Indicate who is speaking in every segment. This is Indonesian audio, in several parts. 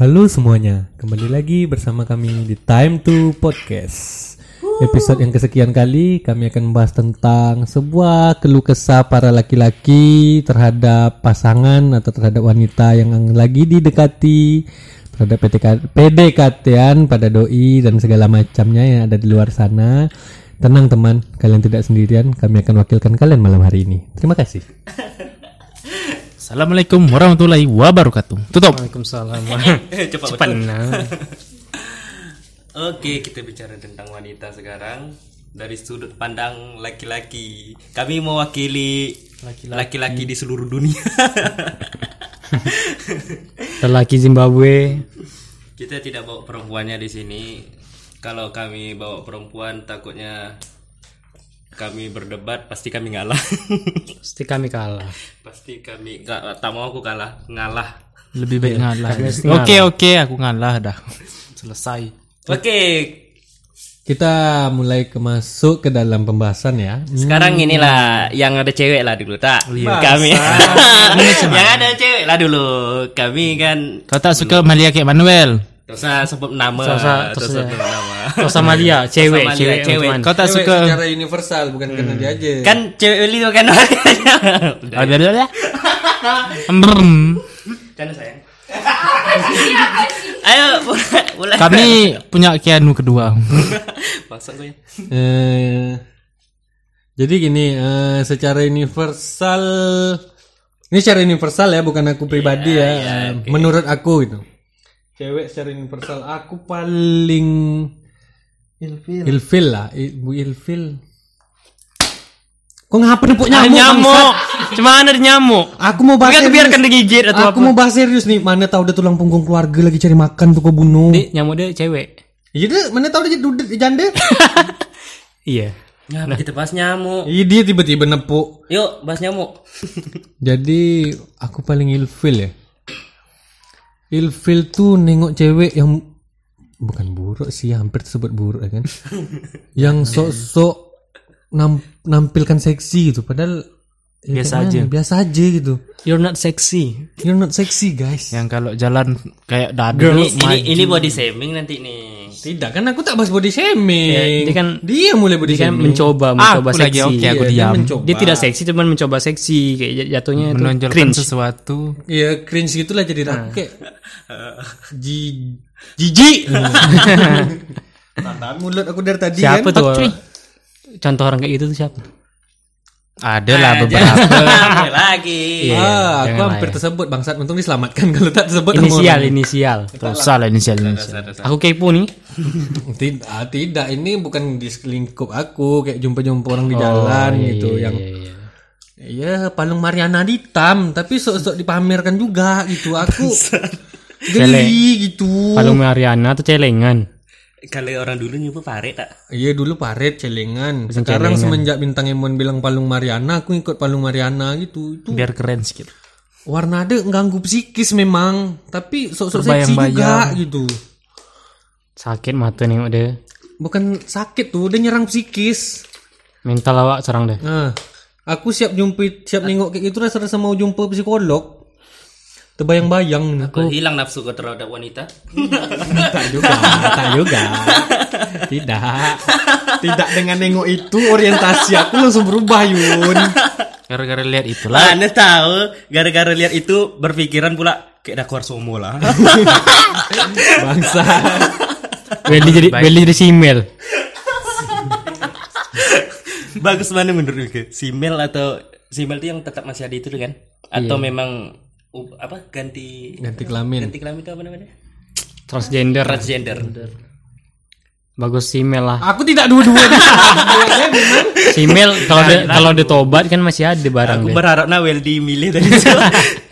Speaker 1: Halo semuanya, kembali lagi bersama kami di Time to Podcast. Episode yang kesekian kali kami akan membahas tentang sebuah keluh kesah para laki-laki terhadap pasangan atau terhadap wanita yang lagi didekati, terhadap PDKT-an pada doi dan segala macamnya yang ada di luar sana. Tenang teman, kalian tidak sendirian, kami akan wakilkan kalian malam hari ini. Terima kasih.
Speaker 2: Assalamualaikum warahmatullahi wabarakatuh. Tutup.
Speaker 3: Waalaikumsalam.
Speaker 4: Cepat,
Speaker 3: Cepat nah.
Speaker 4: Oke, kita bicara tentang wanita sekarang dari sudut pandang laki-laki. Kami mewakili laki-laki di seluruh dunia.
Speaker 3: Lelaki Zimbabwe.
Speaker 4: Kita tidak bawa perempuannya di sini. Kalau kami bawa perempuan takutnya kami berdebat pasti kami ngalah.
Speaker 3: Pasti kami kalah.
Speaker 4: pasti kami nggak tak mau aku kalah, ngalah.
Speaker 2: Lebih baik ngalah.
Speaker 3: mesti
Speaker 2: Oke oke, aku ngalah dah. Selesai.
Speaker 4: Oke,
Speaker 1: Kita mulai ke masuk ke dalam pembahasan ya.
Speaker 4: sekarang inilah yang ada cewek lah dulu tak? Kami yang ada cewek lah dulu. Kami kan
Speaker 2: Kau tak suka Malia kayak Manuel?
Speaker 4: Tidak usah sebut nama.
Speaker 3: Tidak usah-
Speaker 4: Tidak
Speaker 3: tidak
Speaker 4: usah
Speaker 3: usah.
Speaker 4: sebut nama.
Speaker 3: Kau sama dia, cewek,
Speaker 4: Sama dia,
Speaker 3: cewek,
Speaker 4: cewek.
Speaker 3: teman.
Speaker 2: Kau tak suka
Speaker 1: secara universal bukan karena dia aja.
Speaker 4: Kan cewek Uli tu kan.
Speaker 2: Ah, biar- biar- biar. Brrm.
Speaker 4: Kan sayang. Ayo mulai. mulai.
Speaker 2: Kami punya Keanu kedua.
Speaker 4: Maksud gue.
Speaker 1: Eh, jadi gini, eh, secara universal, ini secara universal ya, bukan aku pribadi ya. eh, Menurut aku itu, cewek secara universal aku paling ilfil, ilfil lah, I- bu ilfil. Kok ngapa nepuk nyamuk? bangsat?
Speaker 3: Cuman ada nyamuk.
Speaker 1: Aku mau bahas
Speaker 3: Enggak
Speaker 1: serius.
Speaker 3: biarkan digigit atau
Speaker 1: Aku mau bahas serius nih. Mana tahu dia tulang punggung keluarga lagi cari makan tuh kau bunuh.
Speaker 3: Di, nyamuk dia cewek.
Speaker 1: Iya dia, mana tahu dia jadi dudet, janda.
Speaker 3: Iya.
Speaker 4: Nyamuk Nah, kita bahas nyamuk.
Speaker 1: Iya dia tiba-tiba nepuk.
Speaker 4: Yuk bahas nyamuk.
Speaker 1: Jadi aku paling ilfil ya. Ilfil tuh nengok cewek yang bukan buruk sih, hampir tersebut buruk ya kan. yang sok-sok nam- nampilkan seksi gitu padahal ya
Speaker 3: Biasa
Speaker 1: kayak
Speaker 3: aja.
Speaker 1: mana, Biasa aja gitu.
Speaker 3: You're not sexy.
Speaker 1: You're not sexy guys.
Speaker 3: Ya.
Speaker 2: Yang kalau jalan kayak dadu
Speaker 4: Ini,
Speaker 2: nih,
Speaker 4: ini, ini body shaming nanti nih.
Speaker 1: Tidak kan aku tak bahas body shaming.
Speaker 3: dia kan-
Speaker 1: dia mulai body
Speaker 3: Dia kan
Speaker 1: shaming.
Speaker 3: mencoba,
Speaker 2: Hmm. Aku
Speaker 3: mencoba
Speaker 2: lagi oh.
Speaker 3: seksi.
Speaker 2: oke, aku
Speaker 1: Iya, dia
Speaker 2: diam.
Speaker 1: mencoba.
Speaker 3: Dia tidak seksi, cuman mencoba seksi. Kayak jat- jatuhnya itu
Speaker 2: Menonjolkan
Speaker 3: cringe.
Speaker 2: sesuatu.
Speaker 1: Iya cringe gitulah
Speaker 3: Nah.
Speaker 1: jadi aku kayak ji jijik. Tahan mulut aku dari tadi
Speaker 3: Siapa
Speaker 1: kan.
Speaker 3: tuh? Contoh orang kayak gitu tuh siapa?
Speaker 2: Ada lah beberapa.
Speaker 4: Apa lagi?
Speaker 3: Iya,
Speaker 1: ah, aku hampir tersebut bangsat. Untung diselamatkan kalau tak tersebut sama
Speaker 3: ya. Inisial,
Speaker 1: orang.
Speaker 3: inisial.
Speaker 2: Terus salah inisial inisial.
Speaker 3: Aku kepo nih.
Speaker 1: Tid- ah, tidak, ini bukan di lingkup aku kayak jumpa-jumpa orang
Speaker 3: Oh,
Speaker 1: di jalan
Speaker 3: iya,
Speaker 1: gitu yang ya palung Mariana hitam tapi sok-sok dipamerkan juga gitu aku geli gitu
Speaker 3: Palung Mariana atau celengan?
Speaker 4: Kalau orang dulu nyebut pare tak?
Speaker 1: iya dulu paret celengan sekarang semenjak bintang Emon bilang palung Mariana aku ikut palung Mariana gitu itu
Speaker 2: Biar keren sedikit.
Speaker 1: warna ada ganggu psikis memang tapi sok-sok seksi juga gitu
Speaker 3: Sakit mata nengok dia.
Speaker 1: bukan sakit tuh dia nyerang psikis
Speaker 3: Mental awak serang deh.
Speaker 1: Nah, aku siap jumpa, siap nengok kayak gitu rasa-rasa mau jumpa psikolog. Terbayang-bayang aku
Speaker 4: Hilang nafsu kau terhadap wanita.
Speaker 1: tak juga, tak juga. Tidak. Tidak dengan nengok itu orientasi aku langsung berubah, Yun.
Speaker 2: Gara-gara lihat itulah.
Speaker 4: Mana tahu gara-gara lihat itu berpikiran pula kayak dah keluar somo lah.
Speaker 1: Bangsa.
Speaker 3: Welly jadi Welly jadi simel.
Speaker 4: Bagus mana menurut lu? Simel atau Simel itu yang tetap masih ada itu kan? Atau memang u- apa ganti
Speaker 1: Ganti kelamin.
Speaker 4: ganti kelamin itu apa namanya?
Speaker 3: Transgender.
Speaker 4: Transgender.
Speaker 3: Bagus simel lah.
Speaker 1: Aku tidak dua-duanya.
Speaker 3: Simel kalau
Speaker 2: Nah,
Speaker 3: dia kalau dia tobat kan masih ada barang
Speaker 4: Aku
Speaker 3: deh.
Speaker 4: berharap nah Weldy milih tadi.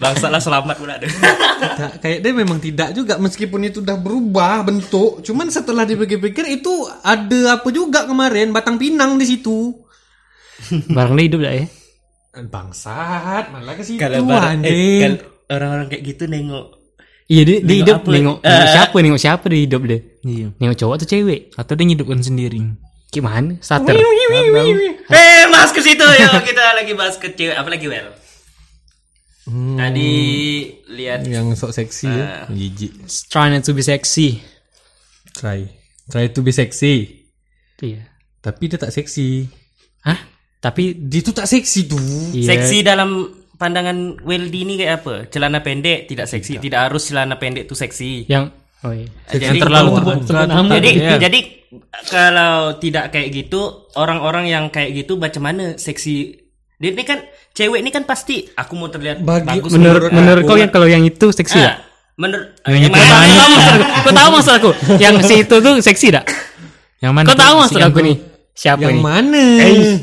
Speaker 4: Bangsa lah selamat pula deh.
Speaker 1: Tidak, kayak dia memang tidak juga meskipun itu udah berubah bentuk, cuman setelah dipikir-pikir itu ada apa juga kemarin batang pinang di situ.
Speaker 3: Barang dia hidup dah ya.
Speaker 1: Bangsat, malah ke situ
Speaker 4: Kalau bar- eh,
Speaker 1: anjing.
Speaker 4: kan orang-orang kayak gitu nengok
Speaker 3: Iya dia, dia
Speaker 4: Nengok
Speaker 3: hidup
Speaker 4: apa?
Speaker 3: nengok, nengok siapa nengok siapa dia hidup deh.
Speaker 2: Eh. Iya.
Speaker 3: Nengok cowok atau cewek?
Speaker 2: Atau dia ngidupkan sendiri.
Speaker 3: Gimana? Starter.
Speaker 4: Eh, mas ke situ yuk kita lagi bahas ke cewek apalagi Wel. Tadi lihat
Speaker 1: yang sok seksi ya. Jijik.
Speaker 3: Try not to be sexy.
Speaker 1: Try. Try to be seksi.
Speaker 3: Iya.
Speaker 1: Tapi dia tak seksi.
Speaker 3: Hah? Tapi
Speaker 1: Dia tuh tak seksi tuh.
Speaker 3: iya.
Speaker 4: seksi dalam pandangan Weldy ini kayak apa? Celana pendek tidak seksi, tidak harus celana pendek itu seksi.
Speaker 3: yang oh iya.
Speaker 4: Jadi
Speaker 1: terlalu
Speaker 4: kalau-
Speaker 1: terbuat- terbuat amat.
Speaker 4: Jadi
Speaker 1: Iya.
Speaker 3: ya.
Speaker 4: jadi kalau tidak kayak gitu, orang-orang yang kayak gitu baca mana seksi? Dia ini kan cewek ini kan pasti aku mau terlihat
Speaker 1: Bagi-
Speaker 4: bagus
Speaker 3: menurut menurut kau yang kalau yang itu
Speaker 2: Eh,
Speaker 3: seksi
Speaker 4: Ah,
Speaker 3: ya?
Speaker 4: menurut
Speaker 3: Yang itu
Speaker 4: Mana-
Speaker 3: banyak. Kau tahu maksud aku? Yang si itu tuh seksi dak?
Speaker 2: Yang mana?
Speaker 3: Kau
Speaker 2: tuh?
Speaker 3: tahu
Speaker 2: Si
Speaker 3: maksud
Speaker 2: yang
Speaker 3: aku
Speaker 2: tuh?
Speaker 3: nih? Siapa
Speaker 1: Yang
Speaker 3: nih?
Speaker 1: mana? Eh.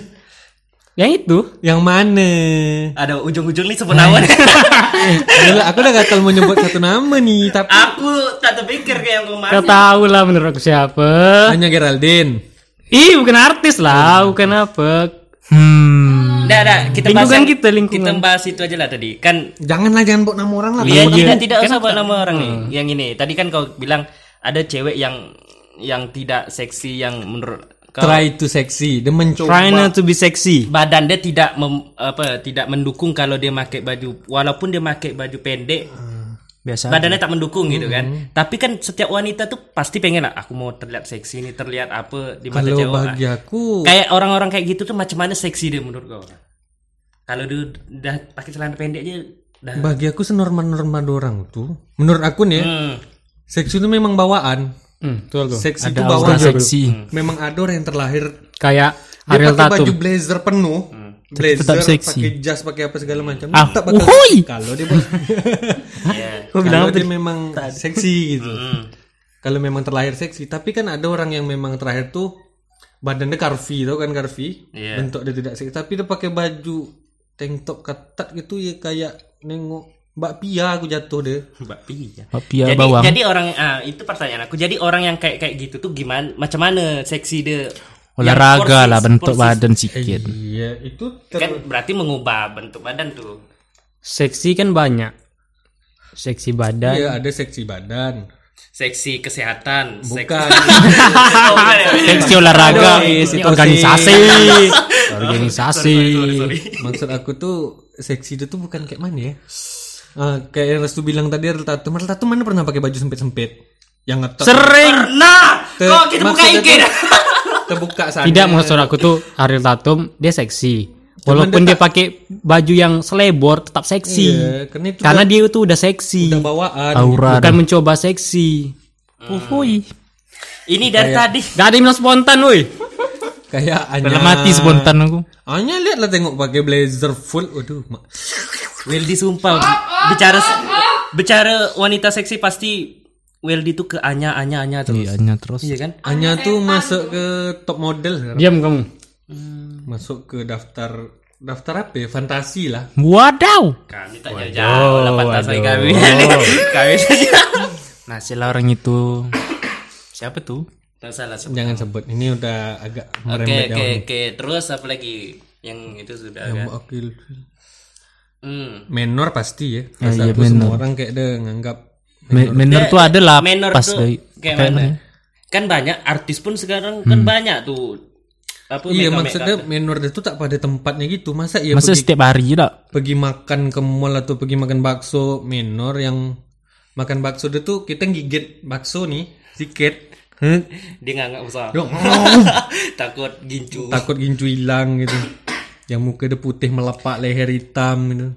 Speaker 3: Yang itu?
Speaker 1: Yang mana? Eh,
Speaker 4: Ada ujung-ujung nih sebut nama.
Speaker 1: Yalah, aku udah gagal mau nyebut satu nama nih, tapi
Speaker 4: aku tak terpikir kayak yang
Speaker 3: Kau
Speaker 4: kemarin.
Speaker 3: tahu lah menurut aku siapa?
Speaker 1: hanya Geraldine.
Speaker 3: Ih, bukan artis lah, bukan apa.
Speaker 2: Hmm.
Speaker 4: Dah, dah, kita bahas
Speaker 3: Lingkungan
Speaker 4: yang-
Speaker 3: kita, lingkungan.
Speaker 4: Kita bahas itu aja lah tadi. Kan
Speaker 1: Janganlah jangan buat nama orang lah.
Speaker 4: Iya, tidak tidak usah buat nama orang nih. Yang ini tadi kan kau bilang ada cewek yang yang tidak seksi yang menurut kau
Speaker 1: Try to seksi. Dia mencoba.
Speaker 3: Try not to be sexy.
Speaker 4: badan dia tidak mem- apa tidak mendukung kalau dia pakai baju walaupun dia pakai baju pendek
Speaker 2: Biasa.
Speaker 4: badannya tak mendukung gitu kan. Tapi kan setiap wanita tuh pasti pengen lah aku mau terlihat seksi nih, terlihat apa di mata
Speaker 1: Kalau
Speaker 4: cewek. lah."
Speaker 1: bagi aku,
Speaker 4: Kayak orang-orang kayak gitu tuh macam mana seksi dia menurut kau? Kalau dia udah pakai celana pendek aja dah
Speaker 1: bagi aku senormal-normal orang tuh. Menurut aku nih, ya,
Speaker 4: Hmm.
Speaker 1: seksi itu memang bawaan.
Speaker 3: Hmm.
Speaker 1: Seksi itu
Speaker 2: Aura
Speaker 1: bawaan.
Speaker 2: seksi.
Speaker 1: Memang ada orang yang terlahir
Speaker 3: Kayak
Speaker 1: dia
Speaker 3: Ariel
Speaker 1: pakai baju
Speaker 3: Tatum.
Speaker 1: blazer penuh,
Speaker 2: tetap
Speaker 1: blazer
Speaker 2: seksi.
Speaker 1: pakai jas, pakai apa segala macam.
Speaker 3: Ah,
Speaker 1: Tetap bakal-
Speaker 3: uhuy.
Speaker 1: Kalau dia Kau bilang dia memang seksi gitu.
Speaker 4: hmm,
Speaker 1: Kalau memang terlahir seksi, tapi kan ada orang yang memang terakhir tuh badannya curvy tau kan curvy,
Speaker 4: Iya.
Speaker 1: bentuk dia tidak seksi, tapi dia pakai baju tank top ketat gitu ya kayak nengok Mbak Pia aku jatuh deh.
Speaker 4: Mbak Pi.
Speaker 2: Papia
Speaker 4: jadi,
Speaker 2: bawang.
Speaker 4: jadi orang ah, itu pertanyaan aku. Jadi orang yang kayak kayak gitu tuh gimana? Macam mana seksi dia? Yang
Speaker 2: Olahraga lah
Speaker 4: porsi-
Speaker 2: bentuk
Speaker 4: porsi-
Speaker 2: badan sikit.
Speaker 3: gitu.
Speaker 1: Iya, itu
Speaker 4: Kan berarti mengubah bentuk badan tuh.
Speaker 3: Seksi kan banyak. Seksi badan.
Speaker 1: Iya, ada seksi badan.
Speaker 4: Seksi kesehatan,
Speaker 1: Bukan.
Speaker 4: seksi Oh, bukan ya?
Speaker 3: Seksi
Speaker 1: Aduh,
Speaker 3: olahraga, Ini
Speaker 1: situasi.
Speaker 3: organisasi, organisasi.
Speaker 1: Maksud aku tuh seksi itu tuh bukan kayak mana ya? Eh, kayak yang Restu bilang tadi Ariel Tatum. Ariel Tatum mana pernah pakai baju sempit-sempit? Yang ngetok.
Speaker 3: Sering.
Speaker 4: Nah,
Speaker 1: Te-
Speaker 4: kok kita buka
Speaker 1: maksudnya
Speaker 4: IG
Speaker 1: tuh-
Speaker 4: dah?
Speaker 1: Terbuka sana.
Speaker 3: Tidak maksud aku tuh Ariel Tatum dia seksi. Walaupun dia pakai baju yang selebor tetap seksi.
Speaker 1: Iya, karena itu
Speaker 3: Karena
Speaker 1: udah-
Speaker 3: dia itu udah seksi.
Speaker 1: udah bawaan.
Speaker 2: Aura.
Speaker 3: Bukan mencoba seksi.
Speaker 1: Uh.
Speaker 3: Uhuy.
Speaker 4: Ini dari tadi.
Speaker 3: Gak ada yang bilang spontan, woi.
Speaker 1: Kayak Anya.
Speaker 2: Dalam mati spontan aku.
Speaker 1: Anya lihatlah tengok pakai blazer full. Waduh, mak.
Speaker 4: Weldy sumpah bicara bicara wanita seksi pasti Weldy tuh ke Anya Anya Anya terus.
Speaker 2: Iya, nya terus.
Speaker 4: Iya kan?
Speaker 1: Anya tuh masuk ke top model,
Speaker 3: Diam kamu.
Speaker 1: masuk ke daftar daftar apa? ya? Fantasi lah.
Speaker 2: Wadaw.
Speaker 4: Kami tak jauh-jauh lah pantasai kami. kami saja.
Speaker 2: Nah, sila orang itu siapa tuh?
Speaker 4: Tak salah. sebut.
Speaker 1: Jangan sebut. Ini udah agak
Speaker 4: Oke,
Speaker 1: merembet
Speaker 4: oke, oke. Terus apa lagi? Yang itu sudah kan?
Speaker 1: Oke.
Speaker 4: Hmm.
Speaker 1: menor pasti ya.
Speaker 2: Ya,
Speaker 1: Pasal
Speaker 2: iya,
Speaker 1: tuh semua
Speaker 2: menor.
Speaker 1: orang kayak dia nganggap
Speaker 2: Me- Menor tuh ada
Speaker 3: Ah,
Speaker 2: lah
Speaker 4: Menor
Speaker 2: pas
Speaker 4: tuh
Speaker 2: dari
Speaker 4: kayak
Speaker 2: apa
Speaker 4: mana?
Speaker 2: namanya?
Speaker 4: Kan banyak artis pun sekarang kan banyak tuh. Apa
Speaker 1: Iya
Speaker 4: makeup-
Speaker 1: maksudnya
Speaker 4: makeup.
Speaker 1: menor dia tuh tak pada tempatnya gitu. Masa iya
Speaker 2: Masa
Speaker 1: pergi,
Speaker 2: setiap hari juga
Speaker 1: pergi makan ke mall atau pergi makan bakso menor yang makan bakso dia tuh kita gigit bakso nih sedikit. Hmm,
Speaker 4: dia nggak nggak usah.
Speaker 1: dong,
Speaker 4: Takut gincu.
Speaker 1: takut gincu hilang gitu. Yang muka dia putih melepak leher hitam gitu.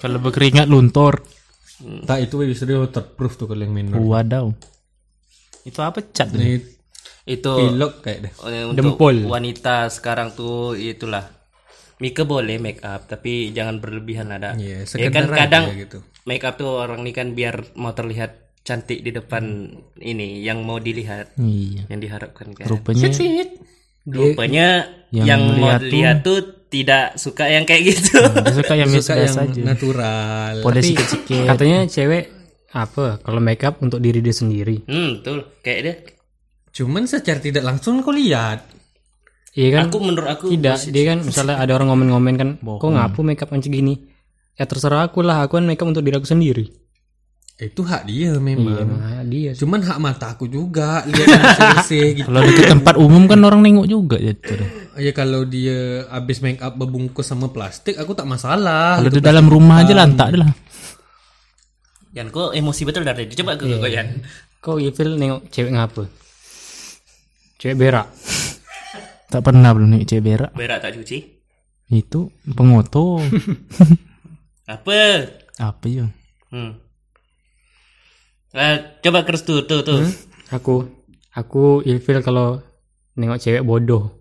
Speaker 2: kalau berkeringat luntur.
Speaker 1: Tak itu justru waterproof tuh kalau yang
Speaker 3: Hmm.
Speaker 1: menor.
Speaker 2: Wadaw. Itu apa cat tuh?
Speaker 1: Ini
Speaker 4: Itu
Speaker 1: pilok kayak deh.
Speaker 4: eh, untuk
Speaker 3: Dempul.
Speaker 4: wanita sekarang tuh itulah. Mika boleh make up tapi jangan berlebihan ada.
Speaker 1: Iya,
Speaker 4: ya
Speaker 1: sekedar
Speaker 4: kan
Speaker 1: aja
Speaker 4: kadang
Speaker 1: gitu.
Speaker 4: make up tuh orang nih kan biar mau terlihat cantik di depan ini yang mau dilihat
Speaker 3: Hmm.
Speaker 2: Iya.
Speaker 4: yang diharapkan kan.
Speaker 2: Rupanya
Speaker 4: Rupanya yang,
Speaker 2: Yang
Speaker 4: mau
Speaker 2: melihat tuh-
Speaker 4: lihat tuh tidak suka yang kayak gitu.
Speaker 3: Hmm.
Speaker 2: dia suka ya, yang
Speaker 1: Suka
Speaker 2: biasa
Speaker 1: yang
Speaker 2: saja.
Speaker 1: natural.
Speaker 2: Boleh sikit-sikit.
Speaker 3: Katanya cewek apa kalau makeup untuk diri dia sendiri.
Speaker 4: Hmm, betul. Kayak dia.
Speaker 1: Cuman secara tidak langsung kau lihat
Speaker 3: Iya kan?
Speaker 4: Aku menurut aku
Speaker 3: Tidak, dia kan misalnya ada orang ngomen-ngomen kan, kok ngapu makeup macam gini? Ya terserah aku lah, aku kan makeup untuk diri aku sendiri.
Speaker 1: eh, itu hak dia memang.
Speaker 3: Nah, dia sih.
Speaker 1: Cuman hak mata aku juga lihat yang bersih-bersih gitu.
Speaker 2: Kalau di tempat umum kan orang nengok juga ya. Cur.
Speaker 1: Ya kalau dia habis make up berbungkus sama plastik aku tak masalah.
Speaker 2: Kalau di dalam rumah aja lantak deh lah.
Speaker 4: Yan, kok emosi betul dari tadi. Coba ke kau Yan.
Speaker 3: Kok Evil nengok cewek ngapa? Cewek berak.
Speaker 2: Tak pernah belum nih cewek berak.
Speaker 4: Berak tak cuci?
Speaker 2: Itu pengoto.
Speaker 4: Apa?
Speaker 2: Apa ya?
Speaker 4: Hmm. Eh, coba keras tuh, tuh, tuh.
Speaker 3: Aku aku Evil kalau nengok cewek bodoh.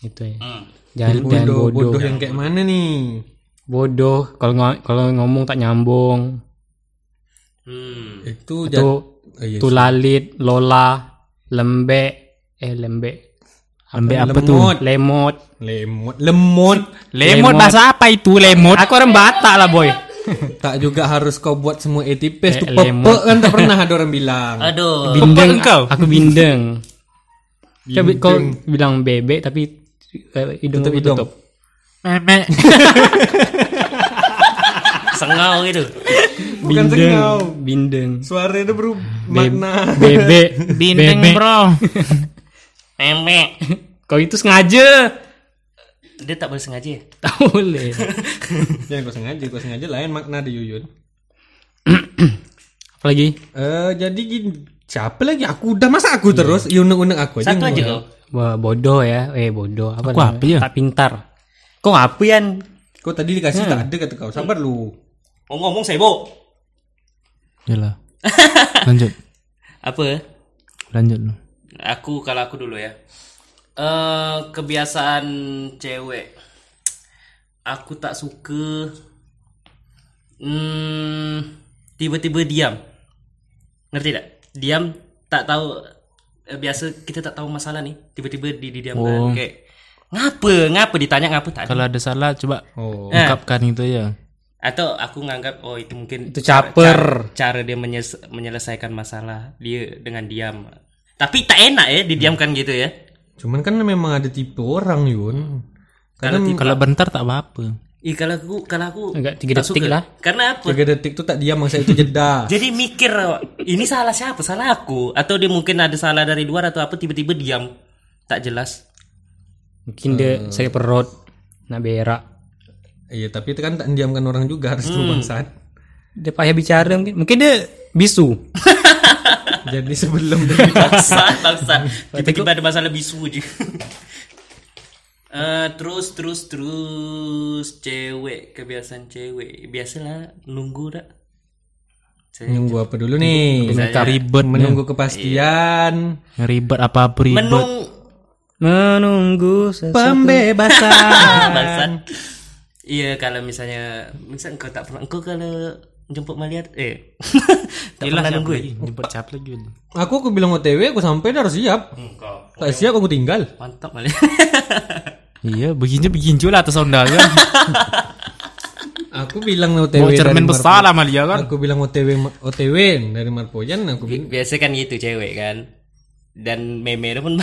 Speaker 3: Gitu ya.
Speaker 4: Hmm.
Speaker 3: Jangan jangan
Speaker 1: bodoh,
Speaker 3: bodoh.
Speaker 1: bodoh yang kayak mana nih?
Speaker 3: Bodoh kalau ngo- kalau ngomong tak nyambung.
Speaker 4: Hmm.
Speaker 1: Itu
Speaker 3: Itu
Speaker 1: jat- Oh, iya.
Speaker 3: tulalit, lola, lembek, eh lembek.
Speaker 2: Ambek apa tuh?
Speaker 1: lemot,
Speaker 3: Lemot.
Speaker 1: lemot, lemot.
Speaker 2: Lemot bahasa apa itu lemot?
Speaker 3: Aku orang Batak lah, boy.
Speaker 1: tak juga harus kau buat semua etipes tuh
Speaker 3: Eh,
Speaker 1: pepe
Speaker 3: lemot.
Speaker 1: kan tak pernah ada orang bilang.
Speaker 4: Aduh.
Speaker 3: Bindeng
Speaker 2: engkau?
Speaker 3: Aku bindeng. Coba kau bilang bebek tapi eh, hidung
Speaker 1: Tutup
Speaker 3: tutup,
Speaker 1: hidung.
Speaker 3: tutup.
Speaker 2: Memek.
Speaker 4: Sengau gitu.
Speaker 1: Bukan sengau.
Speaker 3: Bindeng.
Speaker 1: Suara itu berubah
Speaker 3: Be-
Speaker 1: makna.
Speaker 3: bebek.
Speaker 2: Bindeng
Speaker 3: bebek.
Speaker 2: bro.
Speaker 4: Memek.
Speaker 3: Kau itu sengaja.
Speaker 4: Dia tak boleh sengaja ya?
Speaker 3: Tak boleh.
Speaker 1: Jangan kau sengaja, kau sengaja lain makna di Yuyun.
Speaker 3: Apalagi?
Speaker 1: Eh jadi gini, siapa lagi? Aku udah masa aku terus, ya unek-unek aku aja.
Speaker 4: Satu aja kau.
Speaker 3: Wah, bodoh ya. Eh, bodoh. Apa
Speaker 2: Aku
Speaker 3: namanya?
Speaker 2: apa ya?
Speaker 3: Tak pintar. Kau apa yan?
Speaker 1: Kau tadi dikasih tak ada kata kau. Sabar lu.
Speaker 4: Mau ngomong sibuk.
Speaker 2: Yalah. Ya Lanjut.
Speaker 4: Apa?
Speaker 2: Lanjut lu.
Speaker 4: Aku kalau aku dulu ya. Eh kebiasaan cewek. Aku tak suka hmm, tiba-tiba diam. Ngerti tak? Diam tak tahu eh, biasa kita tak tahu masalah nih. Tiba-tiba di
Speaker 3: Oh.
Speaker 4: didiamkan kayak ngapa? Ngapa ditanya ngapa tak? ada.
Speaker 2: Kalau ada salah coba
Speaker 1: Oh.
Speaker 2: ungkapkan itu ya.
Speaker 4: Atau aku nganggap oh itu mungkin
Speaker 3: Itu caper.
Speaker 4: cara, cara dia menyes- menyelesaikan masalah dia dengan diam. Tapi tak enak ya didiamkan gitu ya.
Speaker 1: Cuman kan memang ada tipe orang Yun. Kan Karena
Speaker 4: Eh.
Speaker 2: Kalau bentar tak apa-apa.
Speaker 4: Ih kalau aku kalau aku
Speaker 3: Enggak, tiga
Speaker 4: tak
Speaker 3: detik
Speaker 4: suka.
Speaker 3: lah.
Speaker 4: Karena apa?
Speaker 1: tiga detik tuh tak diam masa itu jeda.
Speaker 4: Jadi mikir ini salah siapa? Salah aku atau dia mungkin ada salah dari luar atau apa tiba-tiba diam. Tak jelas.
Speaker 3: Mungkin
Speaker 2: Eh.
Speaker 3: dia saya perut. Nak berak.
Speaker 1: Iya tapi itu kan tak diamkan orang juga harus tuh bangsat.
Speaker 3: Dia payah bicara mungkin. Mungkin dia bisu.
Speaker 1: Jadi sebelum dia-
Speaker 4: Bangsa, bangsa. Tiba-tiba ada masalah bisu aja. Eh, terus terus terus cewek kebiasaan cewek biasalah nunggu tak
Speaker 1: menunggu apa dulu nih? Iya.
Speaker 2: Nggak ribet.
Speaker 1: Menunggu kepastian
Speaker 2: Ribet apa-apa ribet.
Speaker 4: menung
Speaker 3: Menunggu sesuatu.
Speaker 1: pembebasan.
Speaker 4: Bangsat. Ah, Iya kalau misalnya misal engkau tak pernah engkau kalau jemput Maliar eh tak pernah nunggu. ya?
Speaker 2: Nyebut cap lagi.
Speaker 1: aku aku bilang OTW aku sampai dah harus siap.
Speaker 4: Engkau
Speaker 1: Tak siap aku tinggal.
Speaker 4: mantap Maliar.
Speaker 2: Iya, beginju-beginju lah atas kan. ondalnya.
Speaker 1: Aku bilang OTW
Speaker 2: Mau cermin
Speaker 1: dari Mar-
Speaker 2: besar lah Malia kan.
Speaker 1: Aku bilang OTW ma- OTW dari Marpojan aku bilang
Speaker 4: Bi- Biasa kan gitu cewek kan. Dan meme itu pun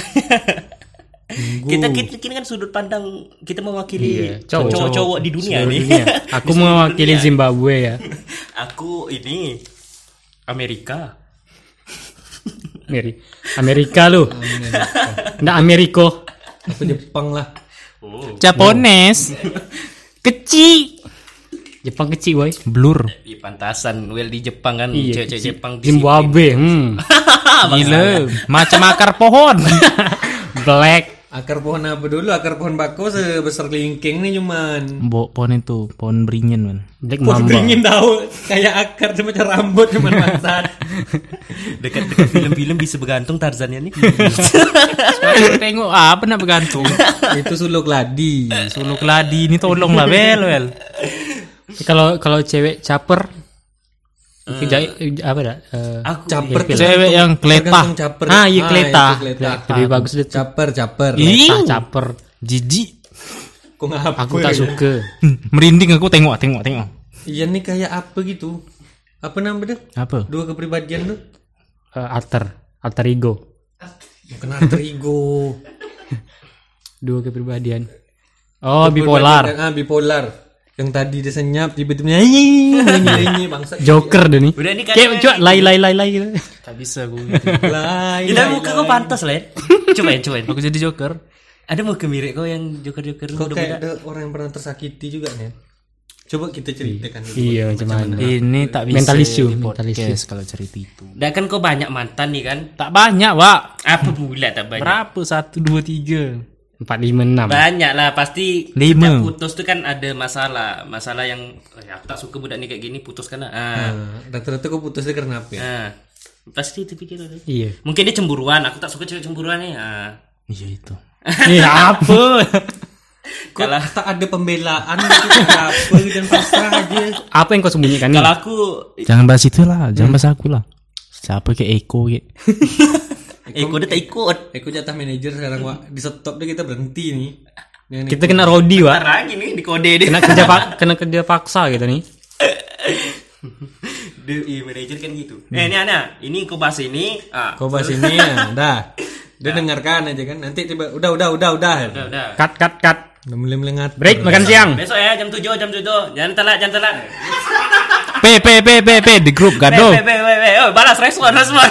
Speaker 4: kita, kita kita kan sudut pandang kita mewakili
Speaker 3: cowok.
Speaker 4: cowok-cowok di dunia nih.
Speaker 3: Aku mewakili Zimbabwe ya.
Speaker 4: Aku ini Amerika.
Speaker 3: Meri. Amerika lu. Nggak Ameriko.
Speaker 1: aku Jepang lah.
Speaker 4: Oh,
Speaker 2: Japones.
Speaker 3: Kecil. Jepang kecil boy.
Speaker 2: Blur.
Speaker 4: di pantasan well di Jepang kan cewek-cewek Jepang
Speaker 3: Zimbabwe. Hmm.
Speaker 2: Ah, Gila. Macam akar pohon.
Speaker 3: Black.
Speaker 1: Akar pohon apa dulu? Akar pohon bako sebesar kelingking nih cuman.
Speaker 2: Bo, pohon itu, pohon beringin man.
Speaker 3: Black
Speaker 1: Pohon
Speaker 3: mamba.
Speaker 1: beringin tahu kayak akar cuma macam rambut cuman bangsat.
Speaker 4: dekat-dekat film-film bisa bergantung Tarzan ya nih.
Speaker 2: Tengok Ah, apa nak bergantung. Eh,
Speaker 1: itu suluk ladi.
Speaker 2: Solo keladi ini tolong lah bel bel.
Speaker 3: Kalau kalau cewek caper Jai- apa dah? Eh,
Speaker 4: Aku
Speaker 1: Caper
Speaker 2: Cewek yang
Speaker 1: tergantung
Speaker 2: keleta.
Speaker 1: caper.
Speaker 3: Ah, iya keleta.
Speaker 1: itu keleta.
Speaker 3: Lebih bagus dia
Speaker 1: Caper, caper.
Speaker 3: tah
Speaker 2: Ih,
Speaker 3: caper.
Speaker 2: Eh, jijik.
Speaker 1: Kok ya? ngapa?
Speaker 3: Aku tak suka.
Speaker 2: Hmm, Merinding aku tengok tengok tengok.
Speaker 1: Iya nih kayak apa gitu? Apa nama dia?
Speaker 2: Apa?
Speaker 1: Dua kepribadian tuh?
Speaker 3: Eh, Arthur, Arthur Ego.
Speaker 1: Bukan alter ego.
Speaker 3: Dua kepribadian. Oh, bipolar.
Speaker 1: Kepribadian- Ah bipolar. yang tadi dia senyap tiba-tiba nyanyi nyanyi nyanyi bangsa
Speaker 3: Joker deh nih.
Speaker 4: Udah, ini kan-
Speaker 3: Kayak coba lay lay lay lay gitu.
Speaker 2: Tak bisa gue.
Speaker 1: lain
Speaker 4: Kita muka kau pantas lah ya. Cobain, cobain.
Speaker 2: Aku jadi Joker.
Speaker 4: Ada muka mirip kau yang joker-joker
Speaker 1: kok
Speaker 4: udah
Speaker 1: kayak ada orang yang pernah tersakiti juga nih coba kita ceritakan dulu
Speaker 3: Iya macam mana.
Speaker 2: Ini tak bisa.
Speaker 3: Mental issue,
Speaker 2: di
Speaker 3: mental
Speaker 2: podcast
Speaker 3: issue.
Speaker 2: kalau cerita itu.
Speaker 4: Dah kan kau banyak mantan nih kan.
Speaker 3: Tak banyak, Wak.
Speaker 4: Apa pula tak banyak?
Speaker 2: Berapa? Satu, dua, tiga.
Speaker 3: 456.
Speaker 4: Banyak lah pasti.
Speaker 2: Lima.
Speaker 4: setiap Putus tuh kan ada masalah, masalah yang "Oh, ya, aku tak suka budak ni kayak gini, putuskan lah. Ah.
Speaker 1: Nah, rata-rata kok putusnya karena
Speaker 2: Hmm.
Speaker 1: apa ya?
Speaker 4: ah. Pasti itu pikiran dia.
Speaker 3: Iya.
Speaker 4: Mungkin dia cemburuan, aku tak suka cewek cemburuan nih. Ah.
Speaker 2: Iya itu.
Speaker 3: Eh, apa?
Speaker 1: Kok tak ada pembelaan gitu kenapa gitu dan pasrah aja.
Speaker 3: Apa yang kau sembunyikan nih?
Speaker 4: Kalau aku
Speaker 2: Jangan bahas itu lah. Jangan bahas aku lah. Siapa kayak Eko kayak.
Speaker 4: Eko dia Eh, tak ikut.
Speaker 1: Eko Eh, jatah manajer sekarang Wak. Di stop deh kita berhenti nih. Yang
Speaker 3: Kita kena rodi, Wak.
Speaker 4: Terangin nih di kode dia.
Speaker 3: Kena kerja pak, kena kerja paksa gitu nih.
Speaker 4: Dia eh, manajer kan gitu.
Speaker 2: Hmm.
Speaker 4: Eh, ini anak, ini kau bahas ini. Ah.
Speaker 1: Kau bahas ini ya, dah. Dia dengarkan aja kan. Nanti tiba udah udah udah udah.
Speaker 4: Udah, udah.
Speaker 3: Cut cut cut.
Speaker 1: Udah mulai mulai ngat.
Speaker 3: Break makan siang.
Speaker 4: Besok ya jam 7 jam 7. Jangan telat, jangan telat.
Speaker 2: P P P P P di grup
Speaker 4: Weh,
Speaker 2: gaduh.
Speaker 4: weh, weh, weh, weh. Oh, balas respon, respon.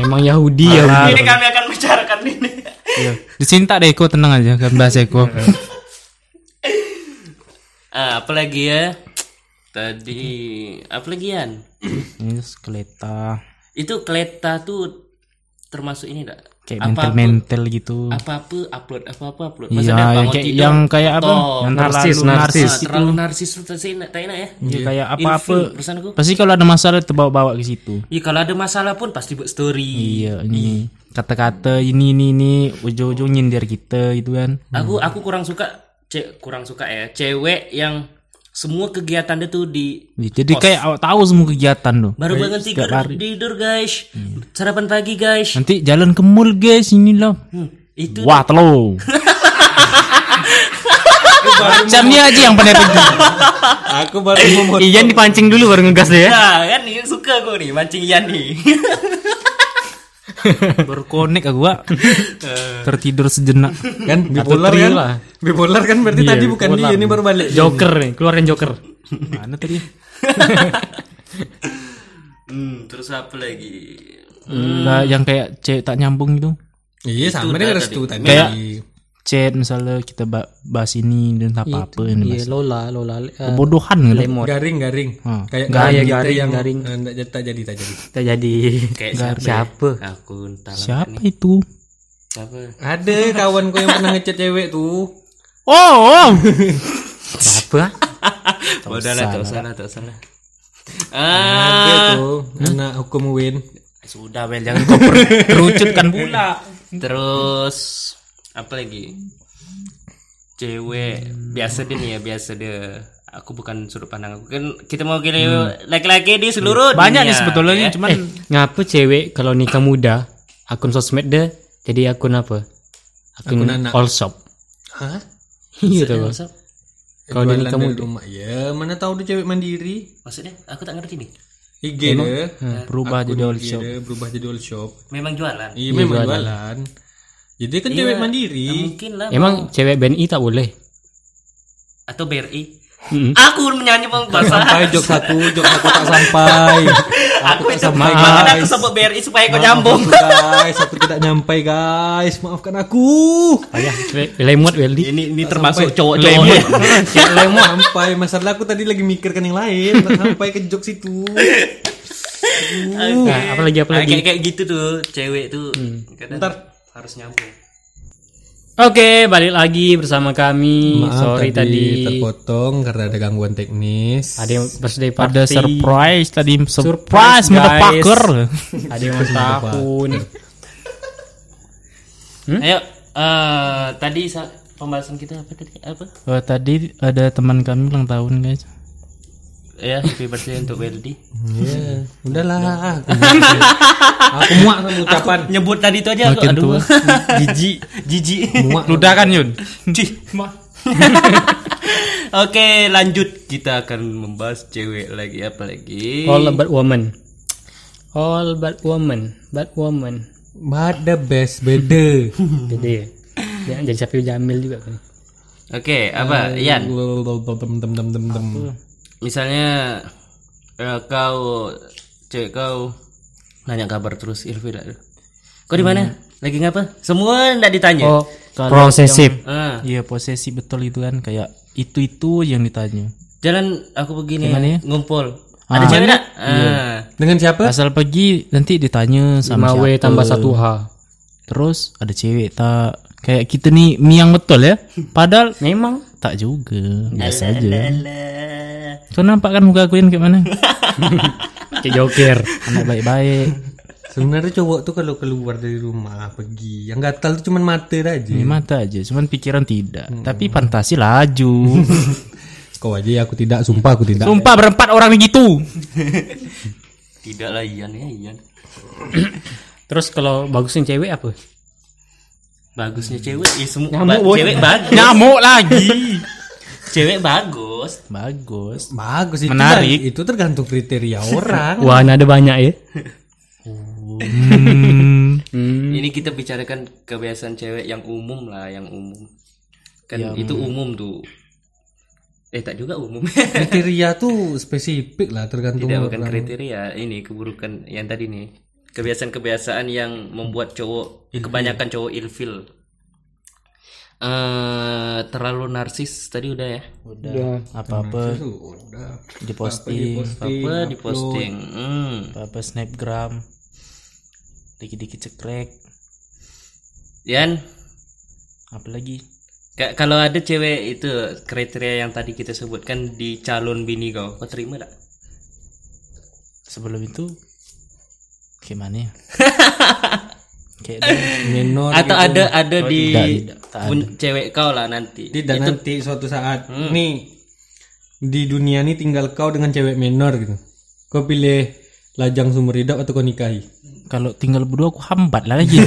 Speaker 3: Memang Yahudi ya.
Speaker 4: ini kami akan bicarakan ini.
Speaker 2: Di sini tak ada Eko tenang aja. Kan bahas Eko.
Speaker 4: Ah, apalagi ya? Tadi apalagian?
Speaker 2: Ini sekeleta.
Speaker 4: Itu Kleta tuh termasuk ini enggak?
Speaker 2: Kayak mental mental gitu.
Speaker 4: apa-apa upload apa-apa upload
Speaker 2: Iya,
Speaker 4: Maksudnya
Speaker 2: yang
Speaker 4: bangun
Speaker 2: kayak
Speaker 4: tidur,
Speaker 2: yang kayak apa?
Speaker 4: tok.
Speaker 2: Yang
Speaker 3: Narsis,
Speaker 2: terlalu
Speaker 3: narsis.
Speaker 4: Ah, terlalu narsis tuh tak enak tak enak ya
Speaker 2: Iya, kayak apa-apa.
Speaker 4: Ilfil, perasaan aku
Speaker 2: Pasti kalau ada masalah terbawa-bawa ke situ.
Speaker 4: Iya kalau ada masalah pun pasti buat story
Speaker 2: Iya, ini kata-kata ini ini ini ujung-ujung nyindir kita gitu kan.
Speaker 4: aku aku kurang suka ce- kurang suka ya cewek yang semua kegiatan dia tuh di
Speaker 2: Jadi kayak awak tahu semua kegiatan tuh.
Speaker 4: baru bangun tidur tidur guys
Speaker 2: Hmm.
Speaker 4: sarapan pagi guys
Speaker 2: Nanti jalan ke mall guys inilah.
Speaker 4: itu
Speaker 2: Wah, telo. Macamnya aja yang pandai pergi. Iya,
Speaker 1: Aku baru mau
Speaker 3: Iyan dipancing dulu baru ngegas deh ya.
Speaker 4: nah kan ini suka gue nih mancing Ian nih
Speaker 2: Berkonek aku, Wak. Tertidur sejenak.
Speaker 1: kan bipolar
Speaker 3: trio
Speaker 1: kan.
Speaker 3: lah.
Speaker 1: Bipolar kan berarti
Speaker 3: Iya,
Speaker 1: tadi bukan
Speaker 3: bipolar.
Speaker 1: dia ini baru balik.
Speaker 3: Joker nih, keluarin Joker.
Speaker 2: Mana tadi?
Speaker 4: hmm, terus apa lagi
Speaker 2: Lah, yang kayak cewek tak nyambung gitu.
Speaker 1: Iya sama dia restu tadi.
Speaker 2: Kayak- Chat misalnya kita ba- bahas ini dan tak apa-apa ini bahas.
Speaker 3: Ya, Lola, Lola.
Speaker 2: Kebodohan gitu.
Speaker 1: garing-garing.
Speaker 2: Ah.
Speaker 1: Kayak
Speaker 3: Garing,
Speaker 1: kita
Speaker 3: garing,
Speaker 1: yang
Speaker 3: garing.
Speaker 1: eh, nggak jadi- tak jadi tak jadi.
Speaker 3: Kita jadi
Speaker 4: Kayak
Speaker 3: siapa?
Speaker 4: siapa aku entah lah
Speaker 2: Siapa itu?
Speaker 4: siapa
Speaker 1: Ada kawan kau yang pernah ngechat cewek tuh.
Speaker 2: Oh, oh.
Speaker 3: Siapa?
Speaker 4: Udah lah, tak usah lah, tak usah lah.
Speaker 1: Ada
Speaker 4: Ah,
Speaker 1: tuh anak hukum Win.
Speaker 2: Eh,
Speaker 4: sudah Bel, jangan kau per-
Speaker 2: kerucutkan pula.
Speaker 4: Terus apa lagi? Cewek
Speaker 2: Hmm.
Speaker 4: biasa dia nih ya, biasa dia. Aku bukan sudut pandang aku kan kita mau gini laki-laki di seluruh
Speaker 2: Hmm. Banyak
Speaker 4: dunia.
Speaker 2: nih sebetulnya cuman
Speaker 3: Eh, ngapa cewek kalau nikah muda akun sosmed deh jadi akun apa? Akun,
Speaker 1: Akun anak.
Speaker 3: all shop.
Speaker 1: Hah?
Speaker 3: Iya tuh.
Speaker 4: Maksud-
Speaker 1: Kalau di
Speaker 3: Kalau
Speaker 1: kamu
Speaker 3: dia kamu
Speaker 1: rumah ya, mana tahu dia cewek mandiri.
Speaker 4: Maksudnya aku tak ngerti nih.
Speaker 1: IG dia,
Speaker 2: berubah jadi all
Speaker 1: IG
Speaker 2: shop.
Speaker 1: dia berubah jadi all shop.
Speaker 4: Memang jualan.
Speaker 2: Hmm.
Speaker 1: Iya memang jualan. Jadi kan cewek mandiri.
Speaker 4: Mungkin lah
Speaker 3: Emang cewek BNI tak boleh?
Speaker 4: atau BRI.
Speaker 1: Hmm.
Speaker 4: Aku menyanyi bahasa.
Speaker 1: Sampai jok satu, jok satu tak sampai.
Speaker 4: aku itu
Speaker 1: sampai,
Speaker 4: makanya aku
Speaker 1: guys.
Speaker 4: sebut BRI supaya kau
Speaker 1: Oh Maaf
Speaker 4: nyambung.
Speaker 1: aku, guys, aku tidak nyampai guys. Maafkan aku.
Speaker 3: Ayah, le- lemot Weldi.
Speaker 4: Ini ini termasuk
Speaker 3: Lemot.
Speaker 4: cowok-cowok. ya.
Speaker 1: Lemot sampai masalah aku tadi lagi mikirkan yang lain, tak sampai ke jok situ.
Speaker 3: Nah, apalagi
Speaker 4: Nah,
Speaker 3: apalagi.
Speaker 4: kayak kayak gitu tuh cewek tuh
Speaker 1: Hmm.
Speaker 4: kadang
Speaker 1: Bentar.
Speaker 4: harus nyambung.
Speaker 3: Oke, balik lagi bersama kami. Sorry tadi,
Speaker 1: terpotong karena ada gangguan teknis.
Speaker 3: ada yang birthday party.
Speaker 2: Ada surprise tadi
Speaker 3: Surprise,
Speaker 2: surprise motherfucker.
Speaker 3: Ada yang ulang tahun.
Speaker 1: Hmm?
Speaker 4: Ayo, eh, tadi sa- pembahasan kita apa tadi? Apa?
Speaker 2: Wah, Oh, tadi ada teman kami ulang tahun, guys.
Speaker 4: Ya, happy birthday untuk Weldy.
Speaker 1: Iya, udahlah. Aku, aku muak sama ucapan.
Speaker 4: Nyebut tadi itu aja aku
Speaker 2: Makin tua.
Speaker 4: aduh. Jiji, jiji.
Speaker 1: Muak.
Speaker 2: Ludah kan, Yun?
Speaker 4: Cih, ma. Oke, lanjut kita akan membahas cewek lagi apa lagi?
Speaker 3: All about woman. All but woman, but woman.
Speaker 1: But the best beda.
Speaker 3: Jadi, ya, jadi Syafiul Jamil juga kan.
Speaker 4: Oke, apa?
Speaker 1: Eh,
Speaker 4: Ian,
Speaker 1: Tem, tem, tem, tem, tem.
Speaker 4: misalnya eh, kau cek kau nanya kabar terus Irfi dah. Kau di mana? Lagi ngapa? Semua ndak ditanya.
Speaker 2: Iya. Oh, kalau
Speaker 3: Prosesif.
Speaker 4: Ah,
Speaker 2: iya posesif betul itu kan kayak itu itu yang ditanya.
Speaker 4: jalan aku begini
Speaker 2: Gimana ya? Iya.
Speaker 4: ngumpul. Ada cewek enggak? Ah.
Speaker 1: Dengan siapa?
Speaker 2: Asal pergi nanti ditanya sama
Speaker 3: 5W
Speaker 2: siapa.
Speaker 3: tambah 1H.
Speaker 2: Terus ada cewek tak kayak kita nih miang betul ya. Padahal
Speaker 3: Memang
Speaker 2: tak juga. Biasa aja.
Speaker 4: Alah.
Speaker 2: Kau nampak kan muka aku yang kayak mana?
Speaker 3: kayak joker.
Speaker 2: Anak baik-baik.
Speaker 1: Sebenarnya cowok tuh kalau keluar dari rumah pergi, yang gatal tuh cuman mata aja.
Speaker 4: Iya.
Speaker 2: Di mata aja, cuman pikiran tidak.
Speaker 4: Hmm.
Speaker 2: Tapi fantasi laju.
Speaker 1: Kau aja ya aku tidak, sumpah aku tidak.
Speaker 2: Sumpah berempat orang gitu. begitu.
Speaker 4: Tidak lah Ian ya Ian.
Speaker 3: Terus kalau bagusin cewek apa?
Speaker 4: Bagusnya cewek, ya semua ba- cewek bagus.
Speaker 2: Nyamuk lagi.
Speaker 4: cewek bagus.
Speaker 2: Bagus.
Speaker 1: Bagus itu
Speaker 2: Menarik.
Speaker 1: kan- Itu tergantung kriteria orang.
Speaker 3: Wah, ada banyak ya.
Speaker 2: Hmm.
Speaker 4: Ini kita bicarakan kebiasaan cewek yang umum lah, yang umum. Kan itu umum tuh. Eh tak juga umum.
Speaker 1: kriteria tuh spesifik lah tergantung
Speaker 4: Tidak
Speaker 2: kan.
Speaker 4: bukan
Speaker 1: orang.
Speaker 4: kriteria, ini keburukan yang tadi nih. Kebiasaan-kebiasaan yang membuat cowok kebanyakan cowok ilfil. Eh terlalu narsis tadi udah ya.
Speaker 2: Udah. Apa-apa
Speaker 1: Tuh, udah.
Speaker 2: diposting,
Speaker 4: Apa diposting? Hmm.
Speaker 2: apa-apa snapgram. Dikit-dikit cekrek.
Speaker 4: Yan,
Speaker 2: Apalagi
Speaker 4: Ka- kalau ada cewek itu kriteria yang tadi kita sebutkan di calon bini kau, kau terima tak?
Speaker 2: sebelum itu gimana ya? kayak dia-
Speaker 1: Minor
Speaker 4: Atau ada ada di
Speaker 2: tidak, tidak, tak
Speaker 4: pun- cewek kau lah nanti.
Speaker 1: tidak nanti suatu saat nih di dunia ini tinggal kau dengan cewek minor gitu. Kau pilih lajang sumber hidup atau kau nikahi?
Speaker 2: kalau tinggal berdua aku hambat lah lagi.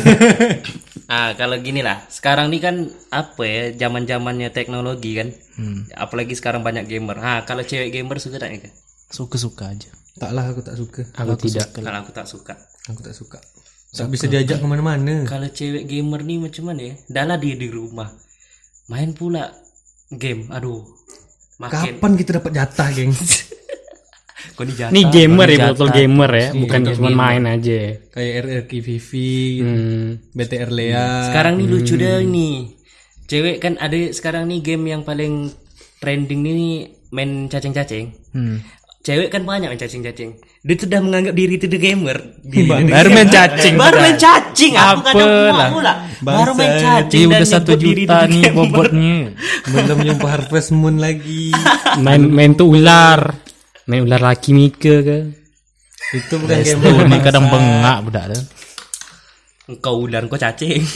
Speaker 4: Ah kalau gini lah, sekarang ini kan apa ya zaman zamannya teknologi kan, apalagi sekarang banyak gamer. Ha kalau cewek gamer suka tak Nika?
Speaker 2: Suka-suka aja.
Speaker 1: Taklah aku tak suka.
Speaker 3: Aku tidak.
Speaker 4: Kalau aku tak suka.
Speaker 1: Aku tak suka. Tak bisa diajak kemana-mana.
Speaker 4: Kalau cewek gamer nih macam mana ya? Dah lah dia di rumah, main pula game. Aduh, makin
Speaker 1: Kapan kita dapat jatah, geng?
Speaker 4: kau ni jahat.
Speaker 3: Ini gamer ya, betul gamer ya, bukan cuma main aja. ya.
Speaker 1: Kayak RRQ Vivi,
Speaker 3: Hmm.
Speaker 1: BTR Lea.
Speaker 3: Iya.
Speaker 4: Sekarang nih lucu deh ini. Cewek kan ada sekarang nih game yang paling trending nih main cacing-cacing. Cewek kan banyak main cacing-cacing. Dia tuh udah menganggap diri itu the gamer. Diri dia the
Speaker 2: Baru main
Speaker 4: gamer.
Speaker 2: cacing.
Speaker 4: Baru main cacing. Aku kadang muak pula. Baru main cacing
Speaker 2: Dia
Speaker 4: dan
Speaker 2: udah satu
Speaker 4: nyebut diri
Speaker 2: juta
Speaker 4: dia the
Speaker 2: nih
Speaker 4: gamer.
Speaker 2: bobotnya.
Speaker 1: Belum jumpa Harvest Moon lagi.
Speaker 3: Main main tuh ular. Main ular laki Mika ke.
Speaker 1: Itu bukan
Speaker 2: Tuh,
Speaker 1: gamer.
Speaker 2: ini kadang bengak budak tuh.
Speaker 4: Engkau ular, engkau cacing.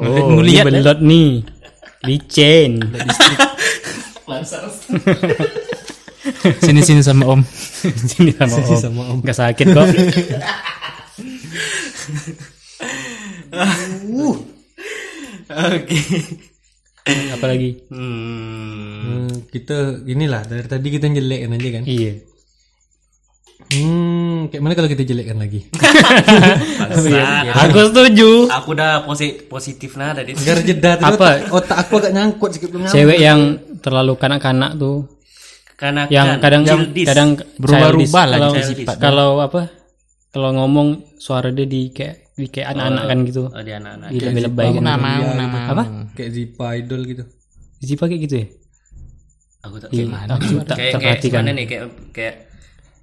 Speaker 3: Oh, ini belot nih. Licin.
Speaker 2: Sini sini sama Om.
Speaker 3: Sini sama om.
Speaker 1: sama om.
Speaker 3: Nggak sakit kok.
Speaker 4: Oke.
Speaker 3: Apalagi?
Speaker 4: Hmm.
Speaker 1: Hmm, kita inilah dari tadi kita jelekkan aja kan.
Speaker 3: Iya.
Speaker 1: Hmm, kayak mana kalau kita jelekkan lagi?
Speaker 4: Bangsat.
Speaker 3: Aku setuju.
Speaker 4: Aku udah posi- positif nah tadi.
Speaker 1: Agar jeda tadi otak-
Speaker 3: Apa?
Speaker 1: otak aku agak nyangkut sikit belum nyangkut.
Speaker 3: Cewek yang terlalu kanak-kanak tuh,
Speaker 4: Karena
Speaker 3: yang kadang kadang
Speaker 2: Berubah-ubah lah
Speaker 3: childish. Kalau,
Speaker 4: childish.
Speaker 3: kalau apa? Kalau ngomong suara dia di kayak di kayak anak-anak kan gitu.
Speaker 4: oh, dia anak-anak.
Speaker 3: Di lebih lebay kan. Apa?
Speaker 1: Ya, Kayak Zipa Idol gitu.
Speaker 3: Zipa kayak gitu ya?
Speaker 4: Aku tak lah,
Speaker 3: Iya, aku tak
Speaker 4: kayak kayak
Speaker 3: terperhatikan.
Speaker 4: mana nih kayak kayak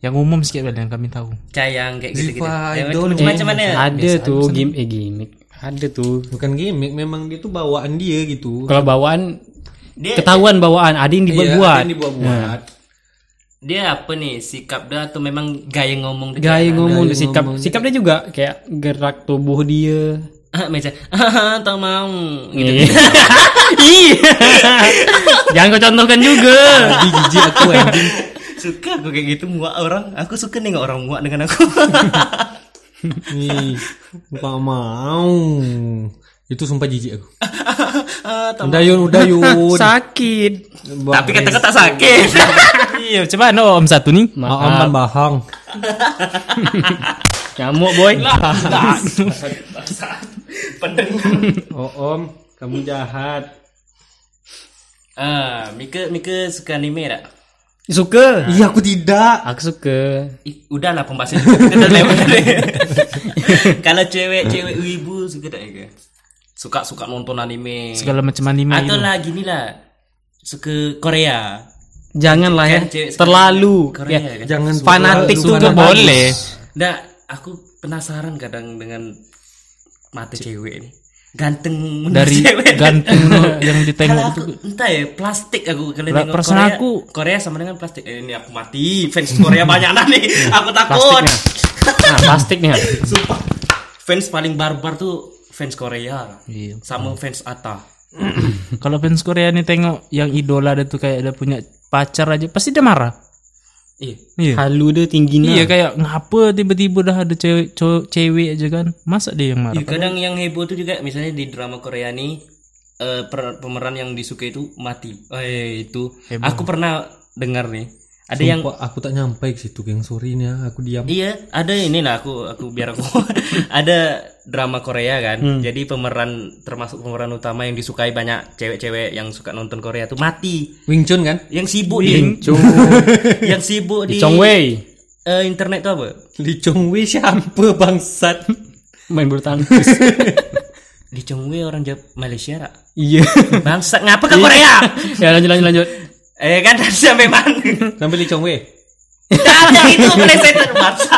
Speaker 2: Yang umum sikit dan kami tahu.
Speaker 4: cayang kayak gitu gitu
Speaker 1: Ziva Idol.
Speaker 4: macam mana
Speaker 3: Eh, Ada tuh game eh gimmick. Ada tuh.
Speaker 1: Bukan gimmick, memang dia tuh bawaan dia gitu.
Speaker 3: Kalau bawaan
Speaker 4: dia
Speaker 3: ketahuan bawaan, ada
Speaker 1: Iya,
Speaker 3: yang
Speaker 1: ada
Speaker 3: dibuat-buat. Ya.
Speaker 1: yang dibuat-buat.
Speaker 4: dia apa nih sikap dia atau memang gaya ngomong dia
Speaker 3: Gaya ngomong, gitu, sikap sikap dia juga kayak gerak tubuh dia.
Speaker 4: ah meja ah tak mau gitu
Speaker 3: Iya. Iya. Jangan kau contohkan juga.
Speaker 1: Tadi jijik aku anjing.
Speaker 4: suka aku kayak gitu muak orang aku suka nengok orang muak dengan aku
Speaker 1: Nih, nggak mau. Itu sumpah jijik aku.
Speaker 4: Ah, tak-
Speaker 1: Udah yun, udah yun.
Speaker 3: Sakit.
Speaker 1: Bah-
Speaker 4: tapi kata kata sakit
Speaker 2: Iya, coba no Om satu nih.
Speaker 1: Aman bahang.
Speaker 3: Nyamuk boy.
Speaker 4: pendengar
Speaker 1: Oh om, kamu jahat.
Speaker 4: Ah, Mika Mika suka anime tak?
Speaker 3: Suka.
Speaker 1: Iya aku tidak.
Speaker 3: Nah, Aku suka.
Speaker 4: Ih, udahlah pembahasan itu kita dah lewat tadi. Kalau cewek-cewek wibu suka tak Mika? Suka suka nonton anime.
Speaker 2: segala macam anime
Speaker 4: Atau
Speaker 2: itu.
Speaker 4: lah gini lah. Suka Korea.
Speaker 3: Janganlah ya.
Speaker 4: Kan cewek suka
Speaker 2: Oh,
Speaker 3: Terlalu.
Speaker 4: Korea
Speaker 3: Ya.
Speaker 4: kan?
Speaker 1: Jangan
Speaker 3: Fanatik
Speaker 1: suka-
Speaker 3: juga
Speaker 1: suka-
Speaker 3: boleh.
Speaker 4: Nggak, aku penasaran kadang dengan mata cewek ini. Ganteng menurut
Speaker 2: dari
Speaker 4: cewek.
Speaker 2: ganteng yang ditengok
Speaker 4: Kalau
Speaker 2: itu.
Speaker 4: aku, entah ya, plastik aku kalau
Speaker 2: Lah,
Speaker 4: tengok
Speaker 2: perasaan
Speaker 4: Korea,
Speaker 2: aku-
Speaker 4: Korea sama dengan plastik. Eh, ini aku mati, fans Korea banyak lah nih. aku takut.
Speaker 3: Plastiknya. Nah, plastiknya.
Speaker 4: Sumpah. Fans paling barbar tuh fans Korea.
Speaker 2: Iya.
Speaker 4: Sama fans Ata.
Speaker 2: Kalau fans Korea nih tengok yang idola dia tuh kayak ada punya pacar aja pasti dia marah.
Speaker 4: Iya.
Speaker 2: Iya.
Speaker 3: Halu dia tinggi nah.
Speaker 2: Iya kayak ngapa tiba-tiba dah ada cewek cowok- cewek aja kan. Masa dia yang marah?
Speaker 4: Iya, kadang yang heboh tuh juga misalnya di drama Korea nih eh, per- pemeran yang disukai itu mati. Eh itu aku pernah dengar nih. Ada yang
Speaker 1: Sumpah, aku tak nyampe ke situ geng sorry nih ya, aku diam.
Speaker 4: Iya, ada ini lah aku aku biar aku ada drama Korea kan. Jadi pemeran termasuk pemeran utama yang disukai banyak cewek-cewek yang suka nonton Korea tuh mati.
Speaker 1: Wing Chun kan?
Speaker 4: Yang sibuk di yang sibuk di
Speaker 3: Chong Wei
Speaker 4: eh, internet tuh apa?
Speaker 1: Lee Chong Wei siapa bangsat?
Speaker 3: main bulu tangkis.
Speaker 4: Di Chongwei orang Jap Malaysia lah.
Speaker 3: Iya.
Speaker 4: Bangsat ngapa ke Korea?
Speaker 3: ya lanjut lanjut lanjut.
Speaker 4: eh kan sampai mana?
Speaker 1: Sampai Lee Chong Wei.
Speaker 4: Jangan yang itu plesetan masa.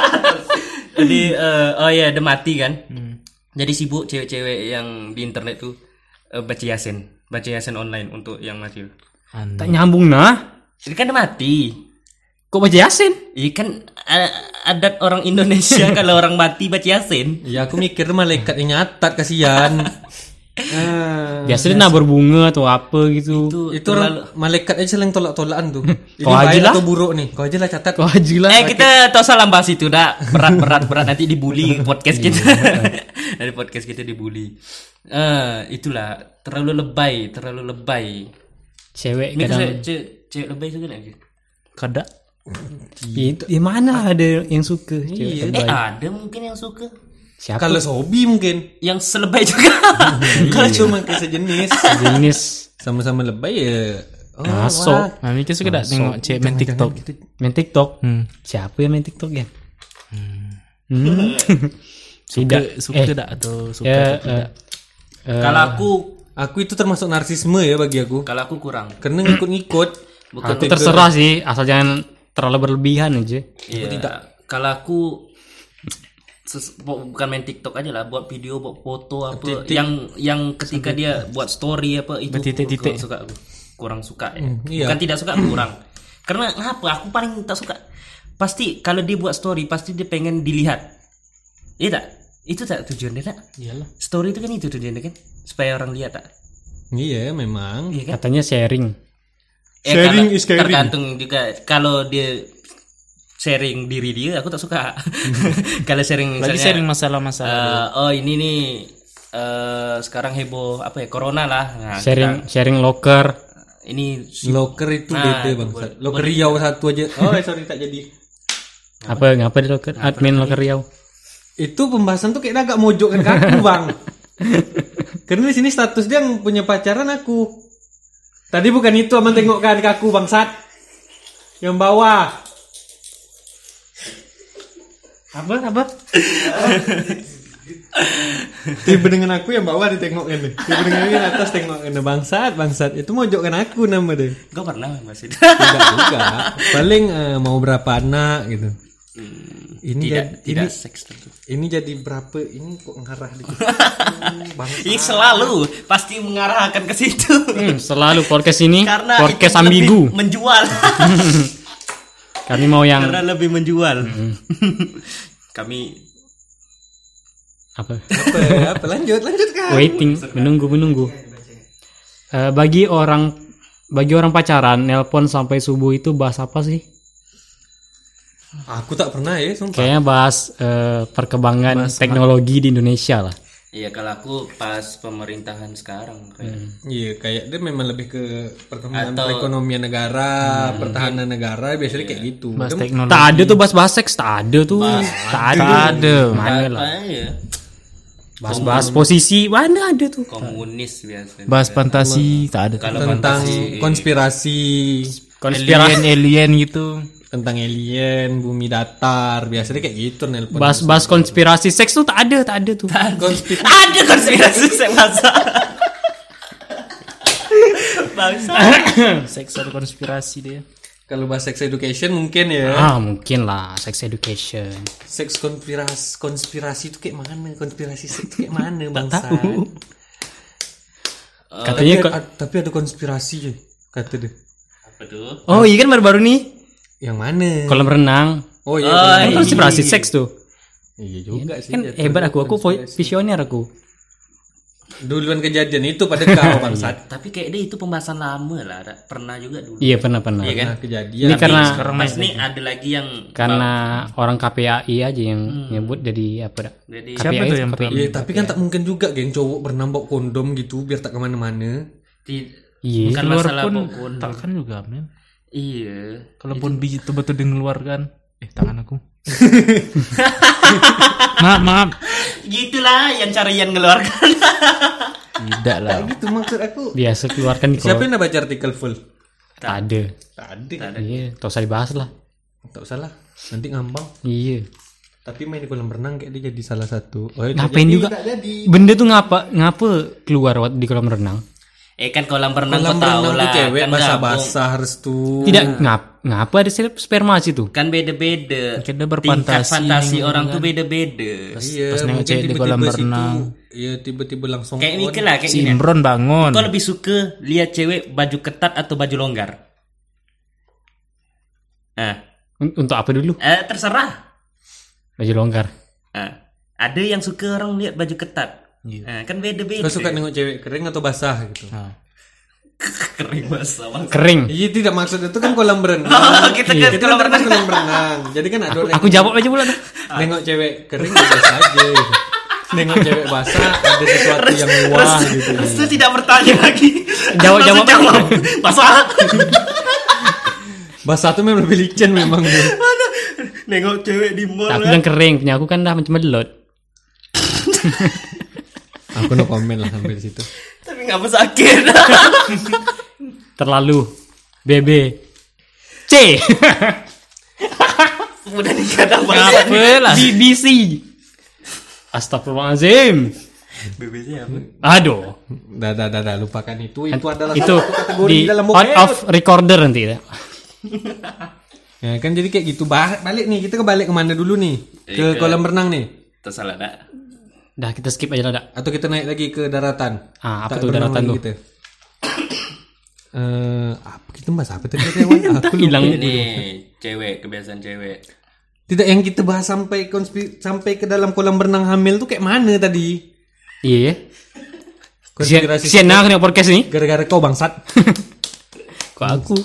Speaker 4: Jadi eh, oh ya dia mati kan. Jadi sibuk cewek-cewek yang di internet tuh eh, baca yasin, baca yasin online untuk yang mati.
Speaker 3: Tak nyambung nah.
Speaker 4: Jadi kan dia mati.
Speaker 3: Kok baca Yasin?
Speaker 4: Iya kan eh, adat orang Indonesia kalau orang mati baca yasin.
Speaker 1: Ya aku mikir malaikat yang nyatat kasihan. Ah,
Speaker 3: Biasanya nah berbunga atau apa gitu.
Speaker 4: Itu,
Speaker 1: itu
Speaker 4: terlalu-
Speaker 1: orang malaikat aja yang tolak-tolakan tuh. Ini
Speaker 3: Hmm. Kau aja
Speaker 1: baik
Speaker 3: lah.
Speaker 1: atau buruk nih? Kau aja lah catat.
Speaker 3: Kau haji lah.
Speaker 4: Eh kita tak salah bahas itu dah berat berat berat nanti dibully podcast kita dari podcast kita dibully. Eh itulah terlalu lebay terlalu lebay.
Speaker 3: Cewek
Speaker 4: Mika
Speaker 3: kadang.
Speaker 4: cewek, cewek, cewek lebay suka nggak? Mika?
Speaker 2: Kada.
Speaker 3: Itu Iya. ya mana ada yang suka cewek
Speaker 4: Eh
Speaker 3: terbaik.
Speaker 4: ada mungkin yang suka
Speaker 3: Siapa
Speaker 1: Kalau sobi mungkin.
Speaker 4: Yang selebay juga
Speaker 1: Kalau cuma kayak sejenis
Speaker 3: jenis
Speaker 1: Iya. sama-sama lebay ya. Oh,
Speaker 3: masuk
Speaker 2: Nah, mikir suka dah tengok cewek main TikTok.
Speaker 3: main TikTok.
Speaker 2: Hmm.
Speaker 3: Siapa yang main TikTok ya? Hmm. Tidak.
Speaker 2: Suka suka dah atau suka.
Speaker 3: Ya,
Speaker 2: atau tidak.
Speaker 3: eh,
Speaker 4: Kalau aku
Speaker 1: Aku itu termasuk narsisme ya bagi aku.
Speaker 4: Kalau aku kurang
Speaker 1: Karena ngikut-ngikut.
Speaker 4: Bukan
Speaker 3: aku terserah sih asal jangan terlalu berlebihan aja.
Speaker 4: Iya Ya. Kalau aku ses- bu- Bukan main tiktok aja lah Buat video Buat foto apa Yang yang ketika dia Buat story apa Itu
Speaker 2: Bertitik-titik.
Speaker 4: kurang suka aku Kurang suka ya
Speaker 1: iya.
Speaker 4: Bukan tidak suka Kurang Karena ngapa Aku paling tak suka Pasti Kalau dia buat story Pasti dia pengen dilihat Iya tak? Itu tak tujuan dia tak?
Speaker 2: Iyalah.
Speaker 4: Story itu kan itu tujuan dia kan Supaya orang lihat tak?
Speaker 1: Iya memang.
Speaker 4: Iya kan?
Speaker 3: Katanya sharing.
Speaker 4: Eh,
Speaker 1: Sharing
Speaker 4: kalau-
Speaker 1: is caring.
Speaker 4: Tergantung juga kalau dia sharing diri dia, aku tak suka. kalau sharing
Speaker 2: Lagi
Speaker 4: misalnya,
Speaker 2: sharing masalah-masalah.
Speaker 4: eh, oh ini nih eh, sekarang heboh apa ya corona lah. Nah,
Speaker 3: Sharing sharing locker.
Speaker 4: kita- ini
Speaker 1: Loker Ah, itu beda bang. Loker Riau satu aja. Oh eh, sorry tak jadi.
Speaker 3: Apa ngapa di locker? Admin locker Riau.
Speaker 1: Itu pembahasan tuh kayaknya agak mojokkan ke aku bang. Karena di sini status dia yang punya pacaran aku. Tadi bukan itu aman tengokkan ke aku bangsat. Yang bawah.
Speaker 3: Apa apa?
Speaker 1: Tiba dengan aku yang bawah ditengokin deh. Tiba dengan aku yang atas tengokin deh. Bangsat, bangsat. Itu mojokkan aku nama deh.
Speaker 4: gue pernah bahas itu.
Speaker 1: Tidak juga. Paling eh, mau berapa anak gitu. Ini
Speaker 4: Hmm, tidak
Speaker 1: jadi-
Speaker 4: tidak
Speaker 1: ini-
Speaker 4: seks tentu.
Speaker 1: Ini jadi berapa? Ini kok ngarah dikit.
Speaker 4: Ih, selalu pasti mengarahkan ke situ.
Speaker 3: Hmm, selalu podcast ini
Speaker 4: Karena
Speaker 3: podcast Hmm.
Speaker 4: itu lebih
Speaker 3: ambigu.
Speaker 4: menjual.
Speaker 3: Kami mau yang
Speaker 4: Karena lebih menjual.
Speaker 3: Hmm.
Speaker 4: Kami
Speaker 3: apa?
Speaker 1: apa, ya? apa lanjut, lanjut kan.
Speaker 3: waiting menunggu menunggu Eh, bagi orang bagi orang pacaran nelpon sampai subuh itu bahas apa sih
Speaker 1: Aku tak pernah ya, sumpah.
Speaker 3: kayaknya bahas eh, perkembangan teknologi di Indonesia lah
Speaker 4: Iya kalau aku pas pemerintahan sekarang kayak
Speaker 1: Iya, kayak dia memang lebih ke perkembangan perekonomian negara, pertahanan negara, biasanya kayak gitu.
Speaker 2: Bahas
Speaker 1: Dia-
Speaker 2: teknologi.
Speaker 3: tak ada tuh bahas bahas seks tak ada tuh tak ada
Speaker 2: Tak ada.
Speaker 4: Apa ya?
Speaker 3: Bahas-bahas posisi, mana ada tuh.
Speaker 4: komunis biasanya
Speaker 2: bahas fantasi tak ada
Speaker 4: kalau
Speaker 1: tentang konspirasi
Speaker 2: alien alien gitu
Speaker 1: tentang alien bumi datar biasanya kayak gitu nelpon
Speaker 3: Bahas-bahas konspirasi seks tuh tak ada, tak ada tuh.
Speaker 1: konspirasi
Speaker 4: ada konspirasi saya masa bangsa
Speaker 2: seks ada konspirasi dia
Speaker 1: kalau bahas sex education mungkin ya
Speaker 3: Ah, mungkin lah sex education.
Speaker 1: seks konspirasi konspirasi itu kayak mana konspirasi seks itu kayak mana bangsa
Speaker 3: Katanya
Speaker 1: tapi,
Speaker 3: ko-
Speaker 1: ada, tapi ada konspirasi ya kata dia
Speaker 4: apa tuh
Speaker 3: Oh, iya kan baru-baru nih
Speaker 1: yang mana
Speaker 3: kolam renang.
Speaker 1: oh iya
Speaker 3: Kan konspirasi seks tuh.
Speaker 1: iya juga sih
Speaker 3: Kan hebat aku, aku vo- visioner aku.
Speaker 1: duluan kejadian itu pada kau bangsat
Speaker 4: tapi kayak dia itu pembahasan lama lah Ra. pernah juga dulu
Speaker 3: Iya, pernah-pernah.
Speaker 4: Iya kan?
Speaker 1: nah, kejadian
Speaker 3: Ini karena
Speaker 4: mas ini ada lagi yang
Speaker 3: karena orang KPAI aja yang nyebut jadi apa dah?
Speaker 4: jadi
Speaker 2: siapa
Speaker 3: KPAI
Speaker 2: tuh yang
Speaker 3: KPAI.
Speaker 1: Iya, tapi kan tak mungkin juga geng cowok bernambok kondom gitu biar tak kemana-mana.
Speaker 4: ti-
Speaker 3: Iya.
Speaker 4: bukan
Speaker 2: keluar
Speaker 4: kan masalah
Speaker 2: pun
Speaker 4: apapun
Speaker 2: takkan juga men
Speaker 4: iya
Speaker 2: kalaupun biji itu betul dikeluarkan eh tangan aku maaf maaf
Speaker 4: gitulah yang cara yang ngeluarkan
Speaker 2: tidak lah
Speaker 3: Nah.
Speaker 1: Gitu maksud aku.
Speaker 3: Biasa keluarkan di
Speaker 1: Siapa
Speaker 3: kolam.
Speaker 1: yang dah baca artikel full?
Speaker 3: Tak ada.
Speaker 1: Tadi.
Speaker 3: Iya, tak usah dibahas lah.
Speaker 1: Tak salah. Nanti ngambang.
Speaker 3: Iya.
Speaker 1: Tapi main di kolam renang kayak dia jadi salah satu. Oh, iya,
Speaker 3: Ngapain juga? Benda tuh ngapa ngapa keluar waktu di kolam renang?
Speaker 4: eh kan kolam renang
Speaker 1: kolam
Speaker 4: kau tahu
Speaker 1: renang tuh
Speaker 4: lah
Speaker 1: cewek
Speaker 4: kan gabung.
Speaker 1: basah-basah harus tuh.
Speaker 3: Tidak ngap ngapa ada sel- sperma situ?
Speaker 4: kan beda-beda
Speaker 2: Mungkin dia
Speaker 4: tingkat
Speaker 2: berfantasi
Speaker 4: fantasi orang tuh beda-beda
Speaker 1: Iya,
Speaker 2: pas nengok
Speaker 1: mungkin
Speaker 2: cewek di
Speaker 1: tiba-tiba
Speaker 2: kolam
Speaker 1: situ,
Speaker 2: renang.
Speaker 1: Iya, tiba-tiba langsung
Speaker 4: kayak
Speaker 1: on.
Speaker 4: Mika lah kayak gitu.
Speaker 2: si
Speaker 4: gini
Speaker 2: Imron bangun
Speaker 4: kau lebih suka lihat cewek baju ketat atau baju longgar ah
Speaker 3: Un- Untuk apa dulu?
Speaker 4: eh, terserah
Speaker 3: Baju longgar.
Speaker 4: ah. ada yang suka orang lihat baju ketat Ah, kan beda-beda
Speaker 1: Kau suka nengok cewek kering atau basah gitu.
Speaker 4: kering bahasa bangsa.
Speaker 3: Kering.
Speaker 1: Iya, tidak maksud itu kan kolam renang.
Speaker 4: kita kan
Speaker 1: Kita kolam
Speaker 4: kolam
Speaker 1: renang. kolam renang. Jadi kan ada orang
Speaker 3: Aku jawab aja pula dah.
Speaker 1: nengok cewek kering biasa aja. gitu. nengok cewek basah ada sesuatu yang
Speaker 4: ya.
Speaker 1: wah gitu.
Speaker 4: Restu tidak bertanya lagi
Speaker 3: Jawab-
Speaker 4: Langsung
Speaker 3: jawab.
Speaker 4: jawab Basah
Speaker 1: Basah tuh memang lebih licin memang tuh.
Speaker 4: Nengok cewek di mall
Speaker 3: Aku
Speaker 4: kan.
Speaker 3: bilang kering, punya aku kan dah macam melot.
Speaker 1: Aku no komen lah sampai di situ.
Speaker 4: Tapi gak sakit
Speaker 3: Terlalu. BB. C.
Speaker 4: Mudah dikata bahasa
Speaker 3: Apa lah? BBC. Astagfirullahalazim.
Speaker 4: BBC apa?
Speaker 3: Aduh.
Speaker 1: Dah dah dah, dah lupakan itu. Itu adalah
Speaker 3: Itu
Speaker 1: satu kategori
Speaker 3: di
Speaker 1: di dalam ya,
Speaker 3: out
Speaker 1: buku.
Speaker 3: of recorder nanti. ya.
Speaker 1: Ya kan jadi kayak gitu. Ba- Balik nih kita kebalik ke mana dulu nih?
Speaker 3: Iya.
Speaker 1: Ke kolam renang nih
Speaker 4: Tersalah tak?
Speaker 3: Dah kita skip aja lah dak.
Speaker 1: atau kita naik lagi ke daratan?
Speaker 3: Ah, apa
Speaker 1: Tak
Speaker 3: tuh
Speaker 1: berenang
Speaker 3: daratan
Speaker 1: lagi
Speaker 3: tuh?
Speaker 1: Kita. ya. Eh, apa kita bahas apa tadi tadi, Wan? Aku lupa.
Speaker 3: Hilang.
Speaker 4: Ini cewek, kebiasaan cewek
Speaker 1: Tidak yang kita bahas sampai konspi- sampai ke dalam kolam renang hamil tuh kayak mana tadi?
Speaker 3: Iya ya.
Speaker 1: Konspirasi
Speaker 3: Sian nah kena podcast ni.
Speaker 1: gara-gara kau bangsat.
Speaker 3: Kok aku?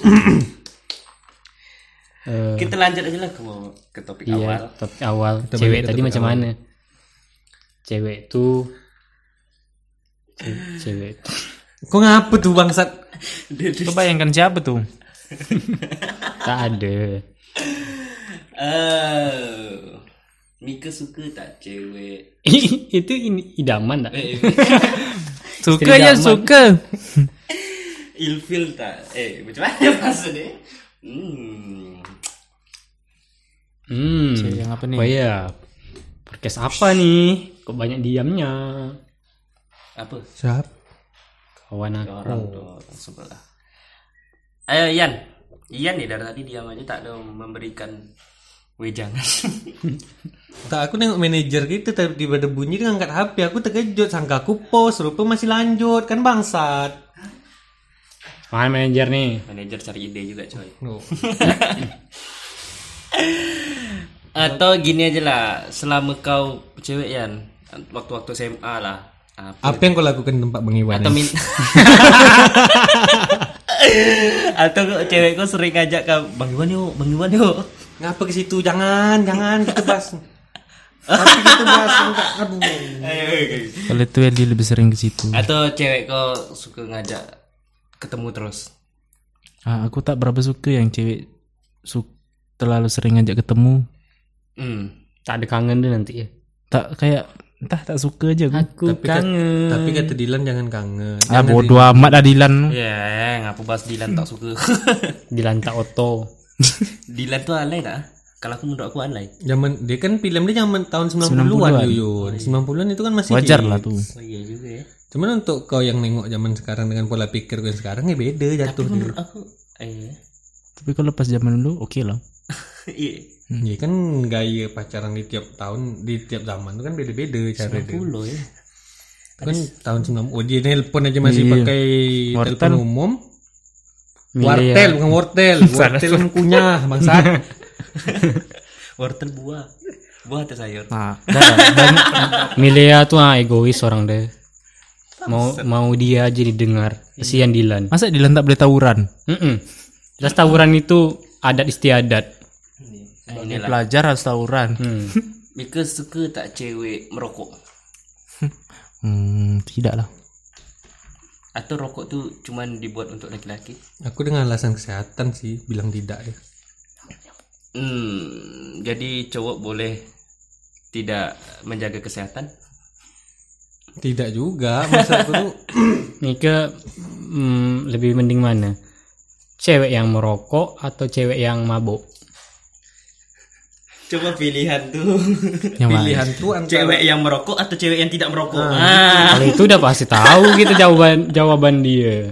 Speaker 3: Eh,
Speaker 4: Kita lanjut aja lah ke, ke topik
Speaker 3: iya,
Speaker 4: awal
Speaker 3: topik awal. cewek tadi macam mana? Cewek tuh Ce- cewek.
Speaker 1: Kau ngapa tuh bangsat?
Speaker 2: Lu bayangkan siapa tuh
Speaker 3: tak ada.
Speaker 4: Oh, Mika suka tak cewek?
Speaker 3: Itu ini idaman tak?
Speaker 2: suka ya suka
Speaker 4: Ilfil tak? Eh, macam mana maksudnya? Hmm.
Speaker 3: Hmm.
Speaker 2: yang apa nih
Speaker 3: Oh iya. Podcast apa nih? Kok banyak diamnya?
Speaker 4: Apa?
Speaker 1: Siap.
Speaker 3: Kawan aku.
Speaker 4: Orang tu sebelah. Ayo Eh, Ian. Ian nih dari tadi diam aja tak ada memberikan wejangan.
Speaker 1: Tak aku nengok manajer gitu tiba-tiba ada bunyi dia ngangkat HP aku terkejut sangka aku pos rupa masih lanjut kan bangsat.
Speaker 3: Mana manajer nih?
Speaker 4: Manajer cari ide juga coy.
Speaker 1: No.
Speaker 4: Atau gini aja lah, selama kau cewek Ian, waktu-waktu SMA lah. Apa?
Speaker 1: Apa yang kau lakukan di tempat Bang Iwan?
Speaker 4: Atau min- Atau kau- cewek kau sering ngajak kau Bang Iwan yuk, Bang Iwan yuk
Speaker 1: Ngapa ke situ? Jangan, jangan gitu, kita bahas. Tapi kita bahas enggak. Aduh.
Speaker 2: kalau itu yang dia lebih sering ke situ
Speaker 4: Atau cewek kau suka ngajak ketemu terus
Speaker 2: Ah, aku tak berapa suka yang cewek su terlalu sering ngajak ketemu
Speaker 4: Hmm
Speaker 3: Tak ada kangen tuh nanti ya.
Speaker 2: tak kayak entah tak suka aja gue.
Speaker 3: Aku kangen.
Speaker 1: Tapi kata Dilan jangan kangen.
Speaker 2: Ah bodoh amat Adilan.
Speaker 4: Ya, ngapa bahas Dilan tak suka?
Speaker 3: Dilanta Oto.
Speaker 4: Dilan tuh alay tak? Kalau aku menurut aku alay.
Speaker 1: Zaman dia kan film dia zaman tahun 90-an, 90 Yuyun. 90-an itu kan masih
Speaker 2: Wajar
Speaker 1: hit.
Speaker 2: lah tuh.
Speaker 4: Oh iya juga ya.
Speaker 1: Cuman untuk kau yang nengok zaman sekarang dengan pola pikir gue sekarang ya beda jatuh dia.
Speaker 4: Menurut aku eh
Speaker 2: Tapi kalau pas zaman dulu oke lah.
Speaker 4: iya.
Speaker 2: Hmm.
Speaker 1: Iya kan gaya pacaran di tiap tahun di tiap zaman itu kan beda-beda cara dia.
Speaker 4: Pulau ya.
Speaker 1: Itu Kan tahun 90 oh, dia nelpon aja masih
Speaker 2: Iya.
Speaker 1: pakai telepon umum. Wartel bukan wortel, wortel yang kunyah bangsat.
Speaker 4: Wortel buah. Buah atau sayur?
Speaker 2: Nah,
Speaker 3: Milia tuh ah, egois orang deh. Mau mau dia aja didengar. Kesian Dilan.
Speaker 2: masa Dilan tak boleh tawuran?
Speaker 3: Mm-mm. Jelas tawuran itu adat istiadat.
Speaker 2: Ini pelajar harus tawuran.
Speaker 3: Hmm.
Speaker 4: Mika suka tak cewek merokok?
Speaker 2: Hmm, tidak lah.
Speaker 4: Atau rokok tu cuman dibuat untuk laki-laki?
Speaker 1: Aku dengan alasan kesehatan sih bilang tidak ya.
Speaker 4: Hmm, jadi cowok boleh tidak menjaga kesehatan?
Speaker 1: Tidak juga, masa aku tuh
Speaker 3: Mika mm, lebih mending mana? Cewek yang merokok atau cewek yang mabuk?
Speaker 4: Coba pilihan tuh.
Speaker 2: Yang mana?
Speaker 1: pilihan tuh antara
Speaker 4: cewek yang merokok atau cewek yang tidak merokok? Ah.
Speaker 3: Kalau itu udah pasti tahu gitu jawaban jawaban dia.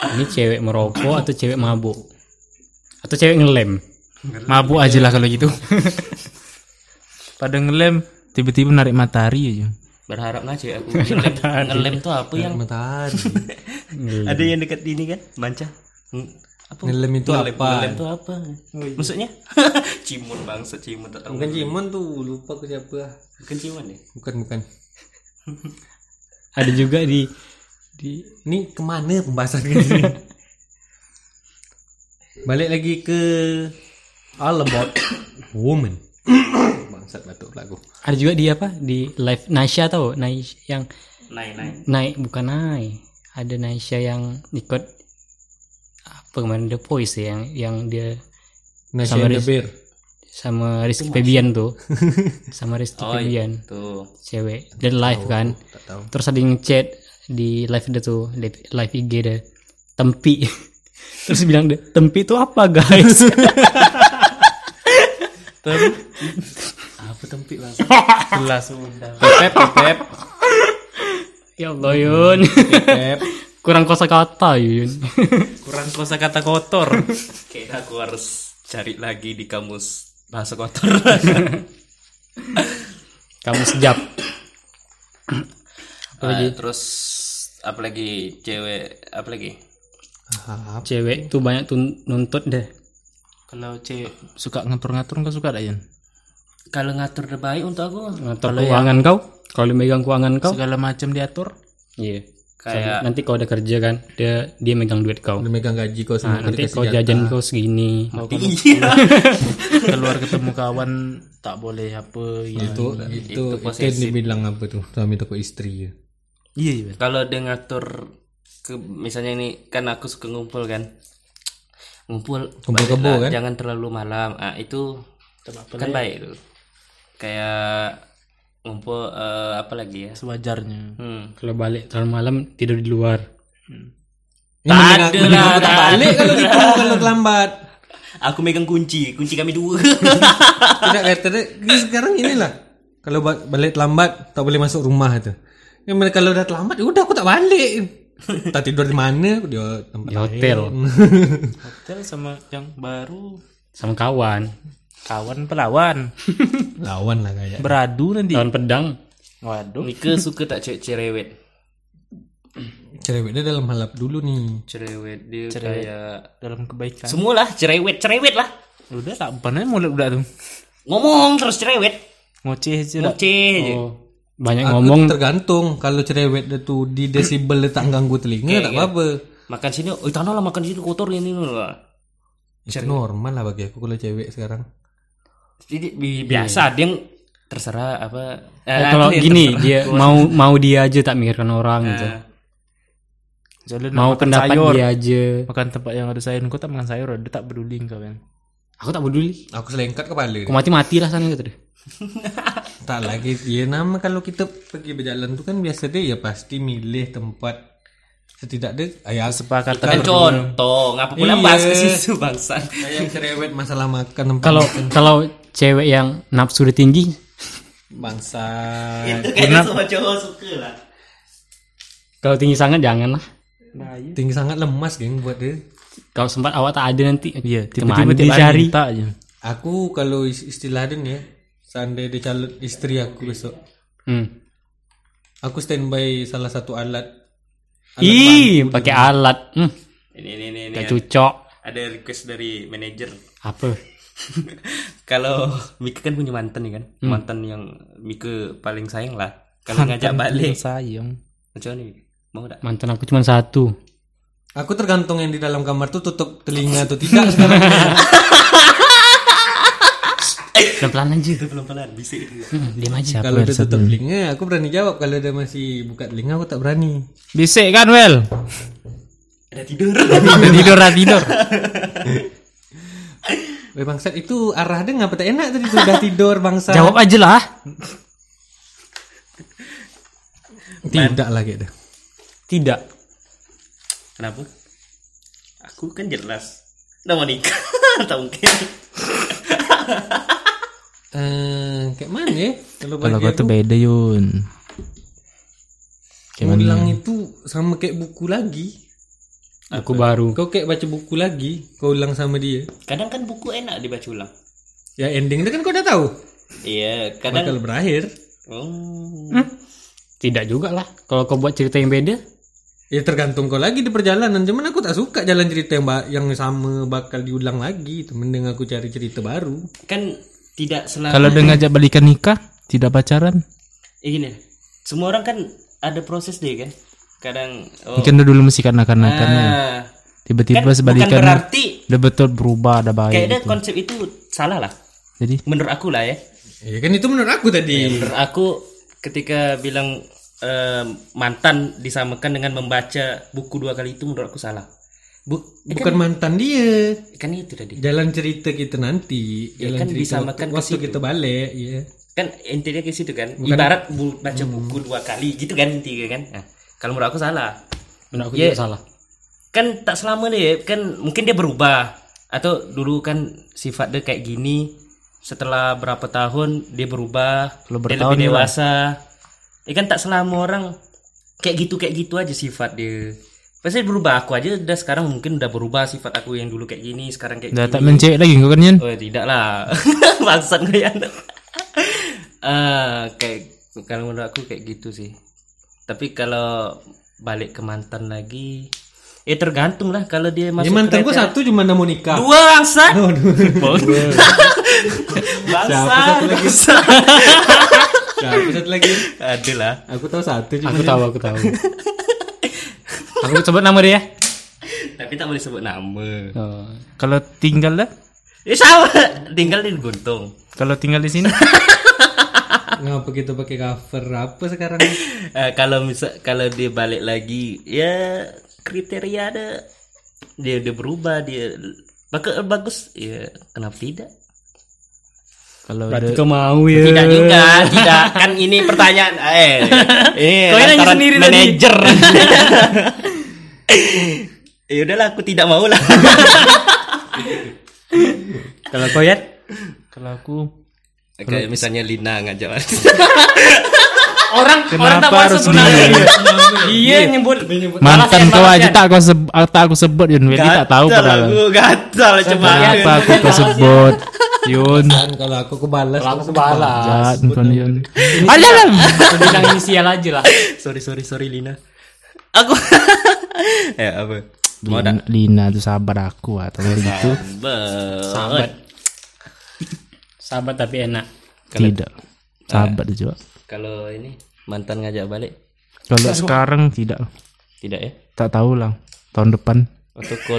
Speaker 3: Ini cewek merokok atau cewek mabuk? Atau cewek ngelem?
Speaker 2: Mabuk aja lah kalau gitu. Pada ngelem tiba-tiba narik matahari aja.
Speaker 4: Berharap ngaca aku ngelem, ngelem tuh apa yang
Speaker 1: matahari.
Speaker 4: ada yang dekat ini kan? Manca. Hmm, Apa?
Speaker 1: Ngelem itu
Speaker 4: Ngelem-
Speaker 1: apa?
Speaker 4: Ngelem tuh apa? Maksudnya? cimun bangsa cimun tak tahu.
Speaker 1: Bukan Cimon kan tuh, lupa aku siapa.
Speaker 4: Bukan cimun ya?
Speaker 1: Bukan bukan.
Speaker 3: Ada juga di di
Speaker 1: Ini kemana pembahasan ini? Balik lagi ke All About Woman. Bangsat batuk lagu.
Speaker 3: ada juga di apa? Di live Naisha tau? Naisha yang
Speaker 4: Naik naik.
Speaker 3: naik bukan naik ada Naisha yang ikut apa kemarin The Voice ya, yang yang dia
Speaker 1: Nasi and the Bear.
Speaker 3: sama Rizky Febian tuh sama Rizky Febian
Speaker 4: Tuh.
Speaker 3: cewek dan live kan
Speaker 1: Oh, Tak Oh, iya. tahu.
Speaker 3: terus ada yang chat di live dia tuh live, live IG dia tempi terus bilang dia tempi itu apa guys
Speaker 4: Apa tempi bangsa? Jelas udah.
Speaker 1: Pep, pep,
Speaker 3: ya Allah Yun
Speaker 1: pep.
Speaker 3: kurang kosakata Yun
Speaker 2: Kurang kosa kata kotor.
Speaker 4: Kayaknya aku harus cari lagi di kamus bahasa kotor.
Speaker 3: kamu sejap
Speaker 4: Ah, terus apalagi cewek apalagi?
Speaker 3: cewek tuh banyak tun- nuntut deh
Speaker 2: kalau cewek suka ngatur-ngatur enggak suka Dayan?
Speaker 4: Kalau ngatur dia baik untuk aku
Speaker 3: ngatur keuangan kau kalau megang keuangan kau
Speaker 2: Segala macam diatur.
Speaker 3: iya
Speaker 4: kayak
Speaker 3: nanti kau udah kerja kan dia dia megang duit kau
Speaker 1: Udah megang gaji kau
Speaker 3: Nah,
Speaker 1: sendiri.
Speaker 3: nanti kau jajan kau segini
Speaker 2: Keluar ketemu kawan tak boleh apa gitu.
Speaker 1: Itu, itu, itu, yang dibilang apa tuh? Suami toko istri ya.
Speaker 2: Iya, iya.
Speaker 4: kalau dia ngatur ke misalnya ini kan aku suka ngumpul kan. Ngumpul
Speaker 1: Kumpul kebo
Speaker 4: lah,
Speaker 1: kan?
Speaker 4: jangan terlalu malam. Ah itu kan baik itu. Kayak ngumpul eh, apa lagi ya?
Speaker 2: Sewajarnya.
Speaker 4: Hmm.
Speaker 3: kalau balik terlalu malam tidur di luar
Speaker 1: Ini mending aku- mending aku tak balik kalau gitu kalau terlambat.
Speaker 4: Aku megang kunci, kunci kami dua.
Speaker 1: Tidak kata dia, dia sekarang inilah. Kalau ba- balik lambat tak boleh masuk rumah itu. Ya mereka kalau udah terlambat ya udah aku tak balik. tak tidur di mana? Di tempat
Speaker 3: di hotel
Speaker 2: Hotel sama yang baru
Speaker 3: sama kawan
Speaker 2: kawan pelawan
Speaker 1: lawan lah kayak.
Speaker 2: beradu nanti.
Speaker 3: lawan pedang
Speaker 2: Waduh.
Speaker 4: Mika suka tak cewek cerewet?
Speaker 1: Cerewetnya dalam halap dulu nih.
Speaker 4: Cerewet dia kayak
Speaker 2: Dalam kebaikan.
Speaker 4: semualah cerewet, cerewet lah.
Speaker 2: Udah tak benar mulut udah tuh.
Speaker 4: Ngomong terus cerewet.
Speaker 2: Ngoceh aja lah.
Speaker 4: Ngoceh.
Speaker 3: oh banyak ngomong
Speaker 1: Tergantung kalau cerewet dia tuh di desibel dia tak ganggu telinga tak apa-apa.
Speaker 4: Makan sini, oh tanah lah makan sini kotor ini ini, lah.
Speaker 1: Itu normal lah bagi aku kalau cewek sekarang.
Speaker 4: Jadi bi- biasa dia yang terserah apa. Eh,
Speaker 3: Eh, kalau
Speaker 4: apa yang
Speaker 3: gini
Speaker 4: terserah.
Speaker 3: dia mau mau dia aja tak mikirkan orang gitu
Speaker 4: Eh,
Speaker 2: Jalan
Speaker 3: mau
Speaker 2: makan
Speaker 3: pendapat
Speaker 2: sayur.
Speaker 3: dia aja
Speaker 2: Makan tempat yang ada sayur. Kau tak makan sayur. Dia tak peduli kau kan.
Speaker 3: aku tak peduli
Speaker 1: Aku selengkat kepala
Speaker 3: aku
Speaker 1: dia.
Speaker 3: mati mati lah sana gitu deh
Speaker 1: tak lagi ya nama kalau kita pergi berjalan tu kan biasa dia ya pasti milih tempat setidaknya ayah
Speaker 2: Sepakat
Speaker 4: Kan contoh, ngapa pula
Speaker 1: Iya. Nah,
Speaker 4: bahas ke situ bangsa.
Speaker 1: yang cerewet masalah makan tempat
Speaker 3: Kalau kalau cewek yang nafsu udah tinggi,
Speaker 1: bangsa
Speaker 4: Itu kayaknya semua cowok suka lah.
Speaker 3: kalau tinggi sangat jangan lah.
Speaker 1: tinggi sangat lemas geng buat dia
Speaker 3: Kalau sempat awak tak ada nanti,
Speaker 2: Iya,
Speaker 3: Kemana
Speaker 2: tiba-tiba tiap hari
Speaker 3: dicari?
Speaker 2: minta aja.
Speaker 1: aku kalau is- istilah dia ni, ya seandainya dia calon istri aku besok
Speaker 3: Hmm.
Speaker 1: aku standby salah satu alat
Speaker 3: Ih, pakai alat. Hmm,
Speaker 4: Ini ini ini. ini.
Speaker 3: gak cocok.
Speaker 4: Ada request dari manajer.
Speaker 3: Apa?
Speaker 4: Kalau Mika kan punya mantan ya kan? Mantan yang Mika paling sayang lah. Kalau ngajak balik,
Speaker 2: Sayang.
Speaker 4: macam mana? Mika? Mau tak?
Speaker 3: Mantan aku cuma satu.
Speaker 1: Aku tergantung yang di dalam kamar tuh tutup telinga atau tidak sekarang.
Speaker 3: Pelan-pelan aja.
Speaker 4: Itu pelan-pelan, bisik dia.
Speaker 3: Hmm, diam aja.
Speaker 1: kalau dia tutup telinga, aku berani jawab. Kalau dia masih buka telinga, aku tak berani.
Speaker 2: Bisik kan, Wel?
Speaker 4: Ada tidur.
Speaker 3: Udah tidur, udah tidur.
Speaker 1: Weh bangsat itu arah dia ngapa tak enak tadi tuh udah tidur bangsa.
Speaker 3: Jawab aja lah.
Speaker 1: Tidak lah gitu.
Speaker 3: Tidak.
Speaker 4: Kenapa? Aku kan jelas. Udah mau nikah, tak mungkin.
Speaker 1: Eh, kayak mana ya? Kalau
Speaker 2: Kalau
Speaker 1: bagi
Speaker 2: kau
Speaker 1: aku,
Speaker 2: iya tuh beda, Yun. Kayak
Speaker 1: bilang itu sama kayak buku lagi.
Speaker 3: Aku baru.
Speaker 1: Kau kayak baca buku lagi, kau ulang sama dia.
Speaker 4: Kadang kan buku enak dibaca ulang.
Speaker 1: Ya ending dia kan kau udah tahu.
Speaker 4: Iya, kadang.
Speaker 1: Bakal berakhir.
Speaker 2: Hmm?
Speaker 4: Oh.
Speaker 3: Tidak juga lah. Kalau kau buat cerita yang beda,
Speaker 1: Ya tergantung kau lagi di perjalanan. Cuman aku tak suka jalan cerita yang ba- yang sama bakal diulang lagi. Itu mending aku cari cerita baru.
Speaker 4: Kan tidak selalu.
Speaker 2: Kalau udah ngajak balikan nikah, tidak pacaran.
Speaker 4: Eh, gini, semua orang kan ada proses deh kan. Kadang. Oh.
Speaker 2: Mungkin dia dulu masih kanak-kanakannya.
Speaker 4: Ah.
Speaker 2: Tiba-tiba
Speaker 4: Kan bukan
Speaker 2: sebalikannya
Speaker 4: berarti
Speaker 2: udah betul berubah, ada baik.
Speaker 4: kayaknya konsep itu salah lah.
Speaker 2: Jadi
Speaker 4: Menurut aku lah ya.
Speaker 1: Ya kan itu menurut aku tadi.
Speaker 4: Menurut aku ketika bilang eh, mantan disamakan dengan membaca buku dua kali itu menurut aku salah. Bu,
Speaker 1: Bukan mantan dia.
Speaker 4: kan itu tadi.
Speaker 1: Jalan cerita kita nanti,
Speaker 4: Ya
Speaker 1: jalan
Speaker 4: kan
Speaker 1: cerita
Speaker 4: disamakan
Speaker 1: waktu,
Speaker 4: ke
Speaker 1: waktu
Speaker 4: situ.
Speaker 1: kita balik, ya.
Speaker 4: kan intinya ke situ kan ibarat bu- baca buku dua kali gitu kan intinya kan Nah, kalau menurut aku salah
Speaker 3: menurut aku
Speaker 4: Iya.
Speaker 3: juga salah.
Speaker 4: kan tak selama deh kan mungkin dia berubah atau dulu kan sifat dia kayak gini setelah berapa tahun dia berubah
Speaker 2: Kalau
Speaker 4: dia
Speaker 2: bertahun
Speaker 4: lebih dewasa ya kan tak selama orang kayak gitu kayak gitu aja sifat dia pasti berubah aku aja udah sekarang mungkin udah berubah sifat aku yang dulu kayak gini sekarang kayak
Speaker 2: udah
Speaker 4: gini
Speaker 2: tak mencewek lagi kau kan Yun?
Speaker 4: Oh tidak lah Bangsat gue ya Ah, Kayak Kalau menurut aku kayak gitu sih Tapi kalau Balik ke mantan lagi Eh tergantung lah Kalau dia
Speaker 1: Ya
Speaker 4: masuk
Speaker 1: mantan gua
Speaker 4: kriteria-
Speaker 1: satu cuma nama nikah.
Speaker 4: Dua bangsat
Speaker 1: Siapa
Speaker 4: Bangsat
Speaker 1: satu lagi?
Speaker 4: bangsat.
Speaker 1: Siapa Nah, satu lagi?
Speaker 4: Ada lah
Speaker 1: Aku tahu satu cuma.
Speaker 3: Aku tahu, aku tahu. aku sebut nama dia. ya.
Speaker 4: Tapi tak boleh sebut nama
Speaker 3: Oh.
Speaker 2: Kalau tinggal dah?
Speaker 4: Eh sama Tinggal di Guntung
Speaker 2: Kalau tinggal di sini?
Speaker 1: Ngapa kita pakai cover apa sekarang?
Speaker 4: Eh, kalau misal kalau dia balik lagi ya kriteria ada dia dia berubah dia bakal bagus ya kenapa tidak
Speaker 2: Kalau
Speaker 3: Berarti kau
Speaker 2: udah
Speaker 3: mau ya.
Speaker 4: tidak juga tidak kan ini pertanyaan eh
Speaker 2: Iya,
Speaker 4: eh
Speaker 3: Kau yang nanya
Speaker 4: lantaran
Speaker 3: sendiri tadi.
Speaker 4: manajer ya udahlah aku tidak mau lah
Speaker 3: Kalau kau ya,
Speaker 2: kalau aku
Speaker 4: kayak misalnya Lina ngajak
Speaker 3: orang orang tak
Speaker 2: kenapa
Speaker 3: masuk
Speaker 2: harus
Speaker 3: sebenarnya.
Speaker 2: dia?
Speaker 3: Iya nyebut.
Speaker 4: ya,
Speaker 2: Mantan kau aja tak kau sebut, tak aku sebut Yun. Wedi tak tahu padahal.
Speaker 4: aku gatal cuma
Speaker 2: Kenapa aku kau sebut Yun?
Speaker 1: Kan kalau aku kebalas.
Speaker 3: Kalau aku sebalas.
Speaker 2: Jahat kau Yun.
Speaker 3: Ah,
Speaker 2: Ada
Speaker 3: Kau bilang inisial aja lah.
Speaker 4: sorry sorry sorry Lina aku eh apa mau tak
Speaker 2: Lina tuh sahabat aku atau gitu?
Speaker 4: Sahabat.
Speaker 3: Sahabat. Sahabat tapi enak.
Speaker 2: Tidak. Sahabat dia juga.
Speaker 4: Kalau ini mantan ngajak balik
Speaker 2: Kalau sekarang tidak.
Speaker 4: tidak ya?
Speaker 2: Tak tahu lah. Tahun depan.
Speaker 4: Atau kau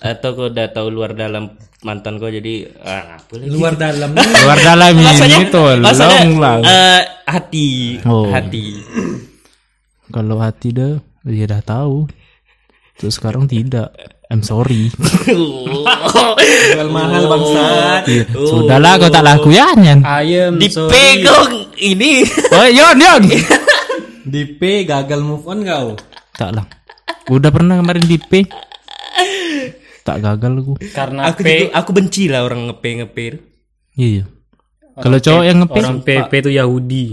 Speaker 4: atau kau udah tahu luar dalam mantan kau jadi ah, apa lagi?
Speaker 1: Luar dalam.
Speaker 2: Luar dalam ini
Speaker 4: maksudnya,
Speaker 2: tolong lah.
Speaker 4: eh, hati
Speaker 2: Oh.
Speaker 4: hati
Speaker 2: Kalau hati dah dia dah tahu. Terus sekarang tidak. I'm sorry.
Speaker 1: Jual mahal bangsat.
Speaker 2: Sudahlah kau tak laku ya, Nyan.
Speaker 4: Ah.
Speaker 3: Ayam
Speaker 4: Dipegang ini.
Speaker 2: Oh, Yon, Yon.
Speaker 1: Di P gagal move on kau.
Speaker 2: tak lah. Udah pernah kemarin di P. Tak gagal aku.
Speaker 3: karena
Speaker 4: aku juga, aku benci lah orang ngepe ngepe.
Speaker 2: Iya. iya. Kalau cowok yang ngepe,
Speaker 3: orang PP itu Yahudi.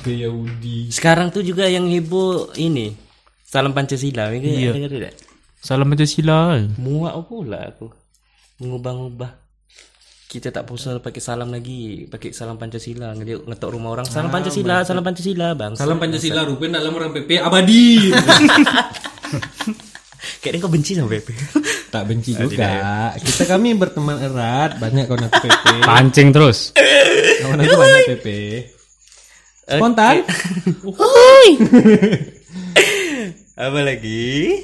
Speaker 1: Ke Yahudi.
Speaker 4: Sekarang tuh juga yang heboh ini. Salam Pancasila. Iya. Dengar tidak?
Speaker 2: salam Pancasila.
Speaker 4: Muak pula aku. Mengubah-ubah. Kita tak usah pakai salam lagi, pakai salam Pancasila. Ngeliat ngetok rumah orang, salam Pancasila, Ah, salam Pancasila, Bang.
Speaker 1: Salam Pancasila Ruben dalam orang PP abadi.
Speaker 4: Kayaknya kau benci sama Pepe.
Speaker 1: tak benci juga. Kita kami berteman erat, banyak kawan aku PP.
Speaker 3: Pancing terus.
Speaker 1: Kawan aku banyak PP. Spontan.
Speaker 4: Apa lagi?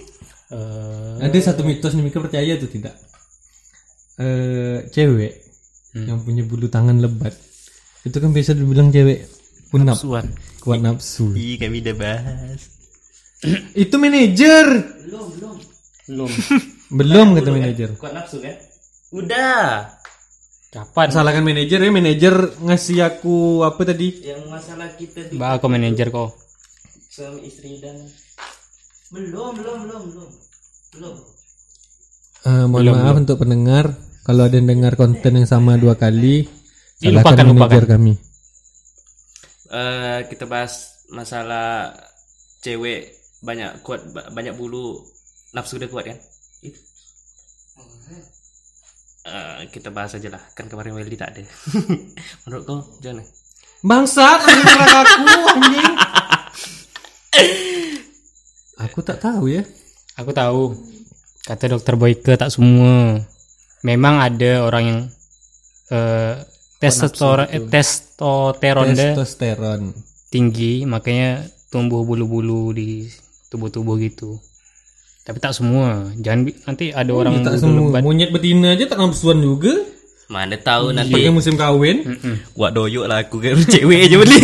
Speaker 1: Ada satu mitos nih Mika percaya atau tidak? Eh cewek yang punya bulu tangan lebat itu kan biasa dibilang cewek punap
Speaker 2: Suan.
Speaker 1: kuat nafsu.
Speaker 4: Ih, kami udah bahas.
Speaker 1: Itu manajer. Belum kata manajer.
Speaker 4: Kuat nafsu kan? Udah.
Speaker 3: Kapan?
Speaker 1: Salahkan manajer ya manajer ngasih aku apa tadi?
Speaker 4: Yang masalah kita
Speaker 3: Mbak aku manajer kok.
Speaker 4: suami istri dan belum belum belum belum belum.
Speaker 1: Eh, mohon maaf untuk pendengar kalau ada yang dengar konten yang sama dua kali
Speaker 3: lupakan,
Speaker 1: salahkan manajer kami.
Speaker 4: Eh, kita bahas masalah cewek banyak kuat ba- banyak bulu nafsu udah kuat kan? Itu. Eh, kita bahas aja lah kan kemarin Welly tak ada menurut kau gimana
Speaker 1: Bangsat, menurut aku anjing. aku tak tahu ya.
Speaker 3: Aku tahu. Kata dokter Boyke tak semua. Memang ada orang yang eh testosteron
Speaker 2: gitu.
Speaker 3: eh, testosteron dia
Speaker 1: Testosteron.
Speaker 3: tinggi, makanya tumbuh bulu-bulu di tubuh-tubuh gitu. Tapi tak semua. Jangan bi- nanti ada
Speaker 2: Oh,
Speaker 3: orang
Speaker 2: gitu.
Speaker 1: Ya, tak
Speaker 3: bulu
Speaker 1: semua
Speaker 3: lebat.
Speaker 1: monyet betina aja tak nafsuan juga.
Speaker 4: mana tahu
Speaker 1: Pakai
Speaker 4: nanti
Speaker 1: musim kawin,
Speaker 2: Hmm.
Speaker 4: kuat doyok lah aku kan cewek aja beli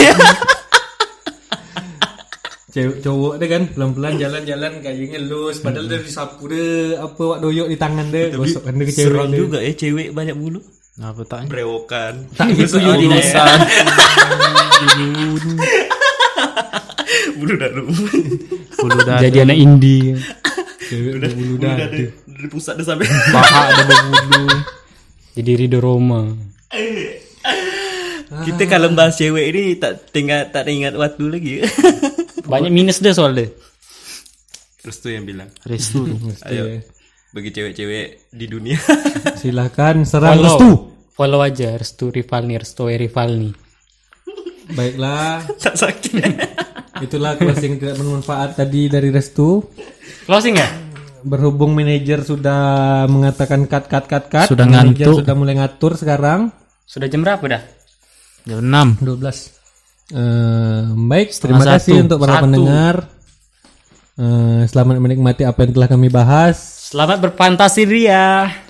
Speaker 1: cewek cowok deh kan pelan-pelan jalan-jalan kayak ngelus padahal dari sapu deh apa wak doyok di tangan deh gosokkan deh ke cewek
Speaker 4: seram
Speaker 1: deh.
Speaker 4: juga ya cewek banyak bulu
Speaker 2: Apa tak?
Speaker 4: brewokan
Speaker 1: Tak gitu juga.
Speaker 4: bulu dah lu
Speaker 2: Bulu dada.
Speaker 3: Jadi anak indie.
Speaker 1: Cewek berbulu dadu.
Speaker 4: dari pusat dah sampai
Speaker 2: paha ada berbulu.
Speaker 3: Jadi Rido Roma.
Speaker 4: kita kalau bahas cewek ini tak tinggal tak ingat waktu lagi
Speaker 3: Banyak minus deh soalnya.
Speaker 4: terus tuh yang bilang
Speaker 2: Restu.
Speaker 4: ayo bagi cewek-cewek di dunia
Speaker 1: Silakan serang
Speaker 3: Follow.
Speaker 1: restu.
Speaker 3: Follow aja Restu Rivalni, Restu Rivalni.
Speaker 1: Baiklah,
Speaker 4: tak sakit
Speaker 1: itulah closing tidak bermanfaat tadi dari Restu.
Speaker 3: Closing ya?
Speaker 1: Berhubung manajer sudah mengatakan cut cut cut cut,
Speaker 2: Sudah
Speaker 1: manajer
Speaker 2: ngantuk.
Speaker 1: sudah mulai ngatur sekarang
Speaker 3: Sudah jam berapa dah?
Speaker 2: Jam enam.
Speaker 1: 12. Eh, baik, terima
Speaker 2: Setengah
Speaker 1: kasih
Speaker 2: satu.
Speaker 1: untuk para
Speaker 3: Satu.
Speaker 1: pendengar. Eh, selamat menikmati apa yang telah kami bahas.
Speaker 3: Selamat berfantasi ria.